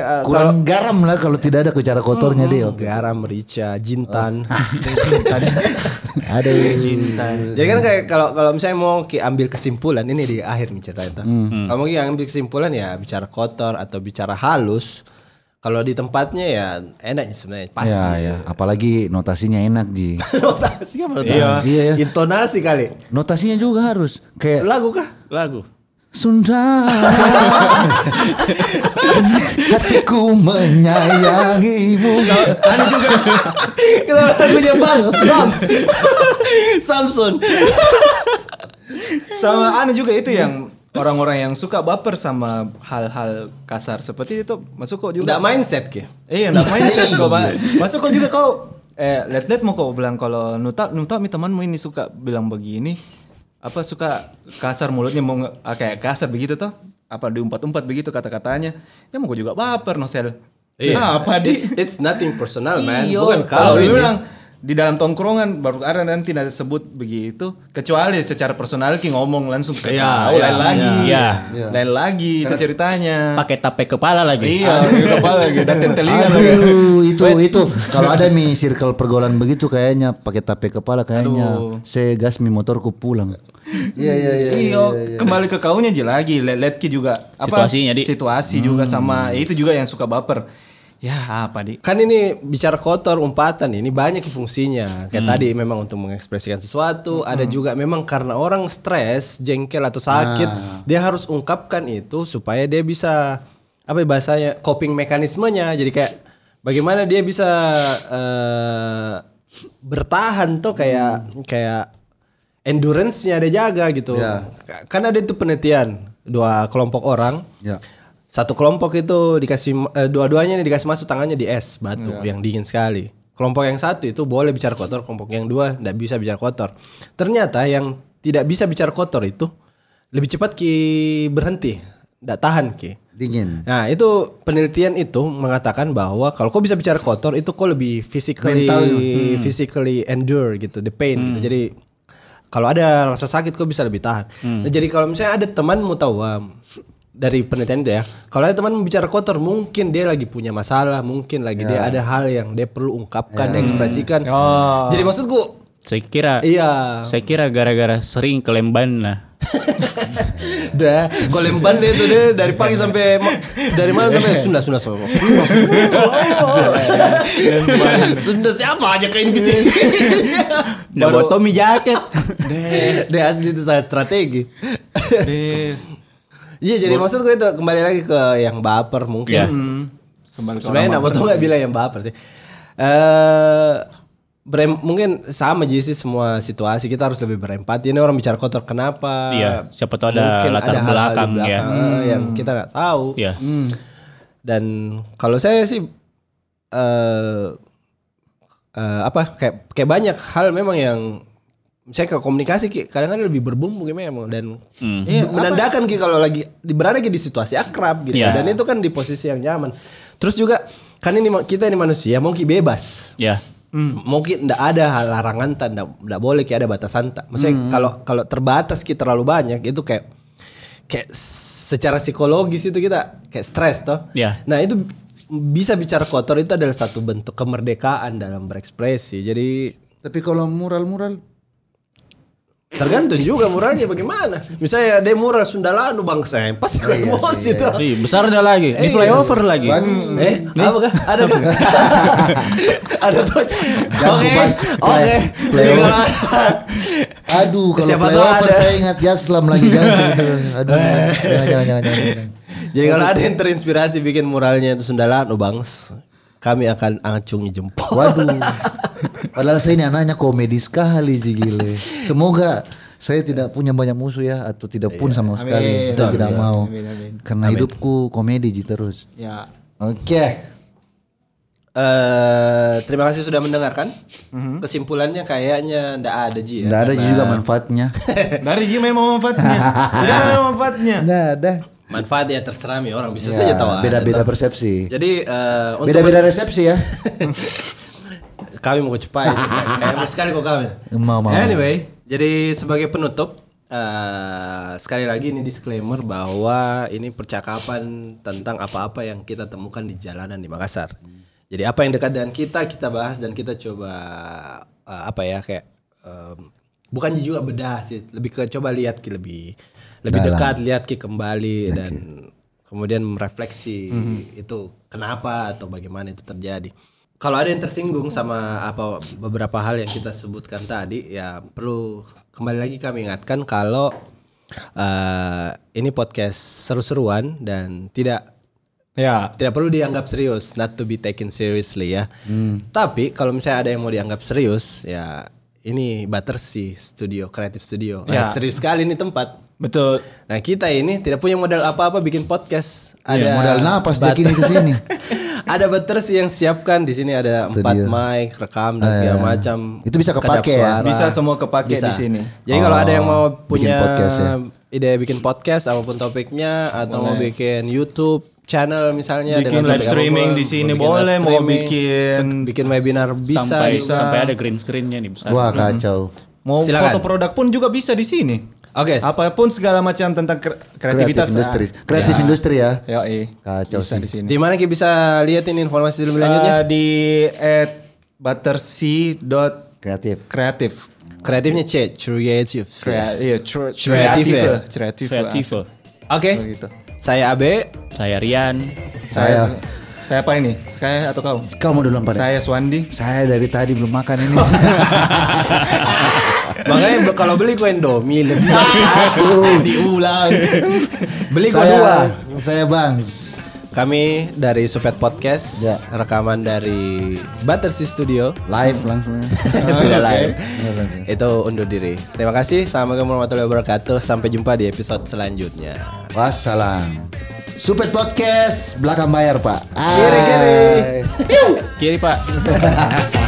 C: uh,
B: kurang garam lah kalau tidak ada bicara kotornya dia.
C: kalau garam, merica, jintan.
B: Oh. Ada iya.
C: Jadi kan kayak kalau kalau misalnya mau ki ambil kesimpulan ini di akhir nih ceritanya. tuh.
B: Hmm.
E: Hmm.
C: Kamu ki ambil kesimpulan ya bicara kotor atau bicara halus. Kalau di tempatnya ya enak sebenarnya pas.
B: Ya, ya. Apalagi notasinya enak Ji.
C: Notasi kan menurut
B: Iya.
C: aku.
B: Iya, ya.
C: Intonasi kali.
B: Notasinya juga harus kayak
C: Lagu kah?
D: Lagu.
B: Sunda. Hatiku menyayangimu.
C: Kenapa lagunya Bang? Bams. Samson.
E: Sama anu juga itu yang orang-orang yang suka baper sama hal-hal kasar seperti itu masuk kok juga.
C: Enggak mindset ki.
E: Iya, nggak mindset kok pak. Masuk kok juga kau. Eh, let let mau kau bilang kalau nuta nuta mi temanmu ini suka bilang begini. Apa suka kasar mulutnya mau nge- ah, kayak kasar begitu toh? Apa diumpat-umpat begitu kata-katanya? Ya mau kau juga baper nosel. Iya. apa di?
C: It's, it's nothing personal man.
E: Iyo,
C: Bukan kalau
E: lu
C: ini.
E: bilang di dalam tongkrongan baru ada nanti ada sebut begitu kecuali secara personal ki ngomong langsung ke
D: Iya, iya,
E: tahu, lain lagi
D: iya.
E: lain lagi itu ceritanya
D: Pakai tape kepala lagi.
E: iya kepala gitu dan telinga lagi.
B: Aduh, itu itu kalau ada mi circle pergaulan begitu kayaknya pakai tape kepala kayaknya. Saya gas mi motorku pulang. Iya iya iya.
E: Iya, kembali ke kaunya aja lagi. Let- let ki juga
D: Situasinya, Di.
E: situasi juga sama ya, itu juga yang suka baper. Ya apa di?
C: Kan ini bicara kotor umpatan ini banyak fungsinya. Kayak tadi memang untuk mengekspresikan sesuatu, ada juga memang karena orang stres, jengkel atau sakit, dia harus ungkapkan itu supaya dia bisa apa ya bahasanya coping mekanismenya. Jadi kayak bagaimana dia bisa eh, bertahan tuh kayak kayak endurance-nya dia jaga gitu. Karena Kan ada itu penelitian dua kelompok orang
B: Ya.
C: satu kelompok itu dikasih eh, dua-duanya ini dikasih masuk tangannya di es batu yang dingin sekali. Kelompok yang satu itu boleh bicara kotor, kelompok yang dua tidak bisa bicara kotor. Ternyata yang tidak bisa bicara kotor itu lebih cepat ki berhenti, tidak tahan ki.
B: Dingin.
C: Nah itu penelitian itu mengatakan bahwa kalau kau bisa bicara kotor itu kau lebih physically
B: Mental.
C: physically endure gitu the pain gitu. Jadi kalau ada rasa sakit kau bisa lebih tahan. Nah, jadi kalau misalnya ada temanmu tahu um, dari penelitian itu ya, kalau ada teman bicara kotor mungkin dia lagi punya masalah, mungkin lagi dia ada hal yang dia perlu ungkapkan, dia ekspresikan. Jadi maksudku
D: Saya kira
C: iya,
D: saya kira gara-gara sering kelemban lah.
C: dah golemban deh itu deh dari pagi sampai ma- dari malam sampai Sunda Sunda Sunda. Sunda, Sunda. Sunda siapa aja kain di sini.
D: Nggak bawa Tommy jacket.
C: Deh, deh asli itu saya strategi.
E: Deh,
C: Iya jadi maksud gue itu kembali lagi ke yang baper mungkin.
D: Iya.
E: Kembali
C: Sebenarnya
E: ke orang
C: nggak
E: baper.
C: betul nggak bilang yang baper sih. Eh berem- mungkin sama aja sih semua situasi kita harus lebih berempati. Ini orang bicara kotor kenapa?
D: Iya, siapa tahu ada
C: Mungkin
D: latar
C: hal-hal di
D: belakang, ya.
C: belakang eh, yang kita nggak tahu.
D: Iya.
C: Dan kalau saya sih eh eh, apa kayak kayak banyak hal memang yang misalnya ke komunikasi Ki, kadang-kadang lebih berbumbu gitu memang dan Iya, menandakan Ki kalau lagi di- berada Ki di situasi akrab gitu
D: Iya.
C: dan itu kan di posisi yang nyaman terus juga kan ini ma- kita ini manusia mau Ki bebas
D: Ya.
B: Hmm.
C: mau Ki ndak ada hal- larangan tak ndak, ndak boleh Ki ada batasan tak maksudnya
B: Hmm.
C: kalau kalau terbatas Ki terlalu banyak itu kayak kayak secara psikologis itu kita kayak stres toh
B: Ya.
D: Iya.
C: Nah itu bisa bicara kotor itu adalah satu bentuk kemerdekaan dalam berekspresi. Jadi
B: Tapi kalau mural-mural
C: tergantung juga murahnya bagaimana. Misalnya dia murah Sundalanu bangsa yang
B: Iya,
C: pasti kan emosi tuh.
D: Ih, besar dah lagi. Di
C: Eh,
D: flyover lagi.
C: Eh, apa kah? Ada kah? Ada tuh.
B: Jangan
C: Oke,
B: bahas
C: oke.
B: play- playoff. Aduh kalau
C: Siapa tahu
B: flyover
C: ada.
B: saya ingat Jaslam lagi jangan seperti itu. Aduh jangan jangan jangan. jangan, jangan.
C: Jadi kalau ada yang terinspirasi bikin muralnya itu Sundalanu bangsa, kami akan acungi jempol.
B: Waduh. Padahal saya ini anaknya komedi sekali sih gile. Semoga saya tidak punya banyak musuh ya atau tidak
C: Iya.
B: pun sama sekali. Saya tidak mau. Karena hidupku komedi ji terus.
E: Ya.
B: Oke.
C: Eh, terima kasih sudah mendengarkan. Kesimpulannya kayaknya Mhm. ndak ada Ji ya.
B: Nggak ada
C: Karena-
B: juga manfaatnya.
E: Dari dia memang manfaatnya. Dia memang manfaatnya.
B: Nggak ada.
C: manfaat ya terserah mi orang bisa
B: Ya,
C: saja tahu
B: Beda-beda
C: ada.
B: persepsi.
C: jadi eh, untuk
B: Beda-beda resepsi ya.
C: kami mau cepat kayak mau sekali kok kami
B: Mau, mau.
C: anyway jadi sebagai penutup eh, sekali lagi ini disclaimer bahwa ini percakapan tentang apa-apa yang kita temukan di jalanan di Makassar jadi apa yang dekat dengan kita kita bahas dan kita coba eh, apa ya kayak em, bukan juga bedah sih lebih ke coba lihat ki lebih lebih dekat lihat ki kembali dan kemudian merefleksi itu kenapa atau bagaimana itu terjadi kalau ada yang tersinggung sama apa beberapa hal yang kita sebutkan tadi ya perlu kembali lagi kami ingatkan kalau eh, ini podcast seru-seruan dan tidak
E: Ya.
C: tidak perlu dianggap serius, not to be taken seriously ya. Tapi kalau misalnya ada yang mau dianggap serius, ya ini Battersea Studio, Creative Studio. Nah,
E: Ya.
C: serius sekali ini tempat.
E: Betul.
C: Nah kita ini tidak punya modal apa-apa bikin podcast. Ada
B: Iya, modal napas
C: bat-
B: jadi kini ke sini.
C: ada Battersea yang siapkan di sini ada empat mic, rekam dan segala macam.
B: Ah, iya. Itu bisa
C: kedap
B: kepake ya? Oh,
C: suara.
E: Bisa semua kepake
C: Bisa.
E: di sini.
C: Jadi kalau ada yang mau punya
B: podcast ya.
C: ide bikin podcast apapun topiknya atau mau bikin YouTube channel misalnya
E: Bikin
C: dengan
E: live
C: topik
E: streaming
C: apapun,
E: di
C: mau
E: sini
C: bikin live
E: boleh, mau
C: streaming,
E: bikin-
C: bikin webinar bisa
D: sampai
C: gitu.
D: sampai ada green screen-nya nih besar.
B: Wah kacau.
E: Mau
C: Silakan.
E: foto produk pun juga bisa di sini.
C: Oke.
E: Apapun segala macam tentang kre-
C: ah.
E: kreativitas.
B: Kreatif industri. Kreatif industri ya.
E: Ya, iya.
B: Kacau
E: Bisa
B: sih.
E: di sini.
C: Di mana kita bisa lihat ini informasi lebih lanjutnya?
E: Eh, di at buttersea.creative.
B: Kreatif.
C: Kreatifnya C, creative.
E: Krea- iya, cre- eh,
C: Kreatif ya?
E: kreatif. Kreatif.
D: Kreatif.
E: asli.
D: loh.
C: Oke.
E: Gitu.
C: Saya AB.
D: Saya Rian.
B: Saya.
E: Saya saya apa ini? Saya atau kau?
B: Kamu dulu empat.
E: Saya Swandi.
B: Saya dari tadi belum makan ini.
C: Oh, Makanya be- kalau beli kue Indomie lebih. diulang. beli kue dua.
B: saya, saya Bangs.
C: Kami dari Supet Podcast,
B: Ya.
C: rekaman dari Battersea Studio.
B: Live langsung.
C: Tidak live. Itu undur diri. Terima kasih. Assalamualaikum warahmatullahi wabarakatuh. Sampai jumpa di episode selanjutnya.
B: Wassalam. Supet podcast belakang bayar pak.
C: Kiri, kiri.
B: Hai.
D: Kiri Pak.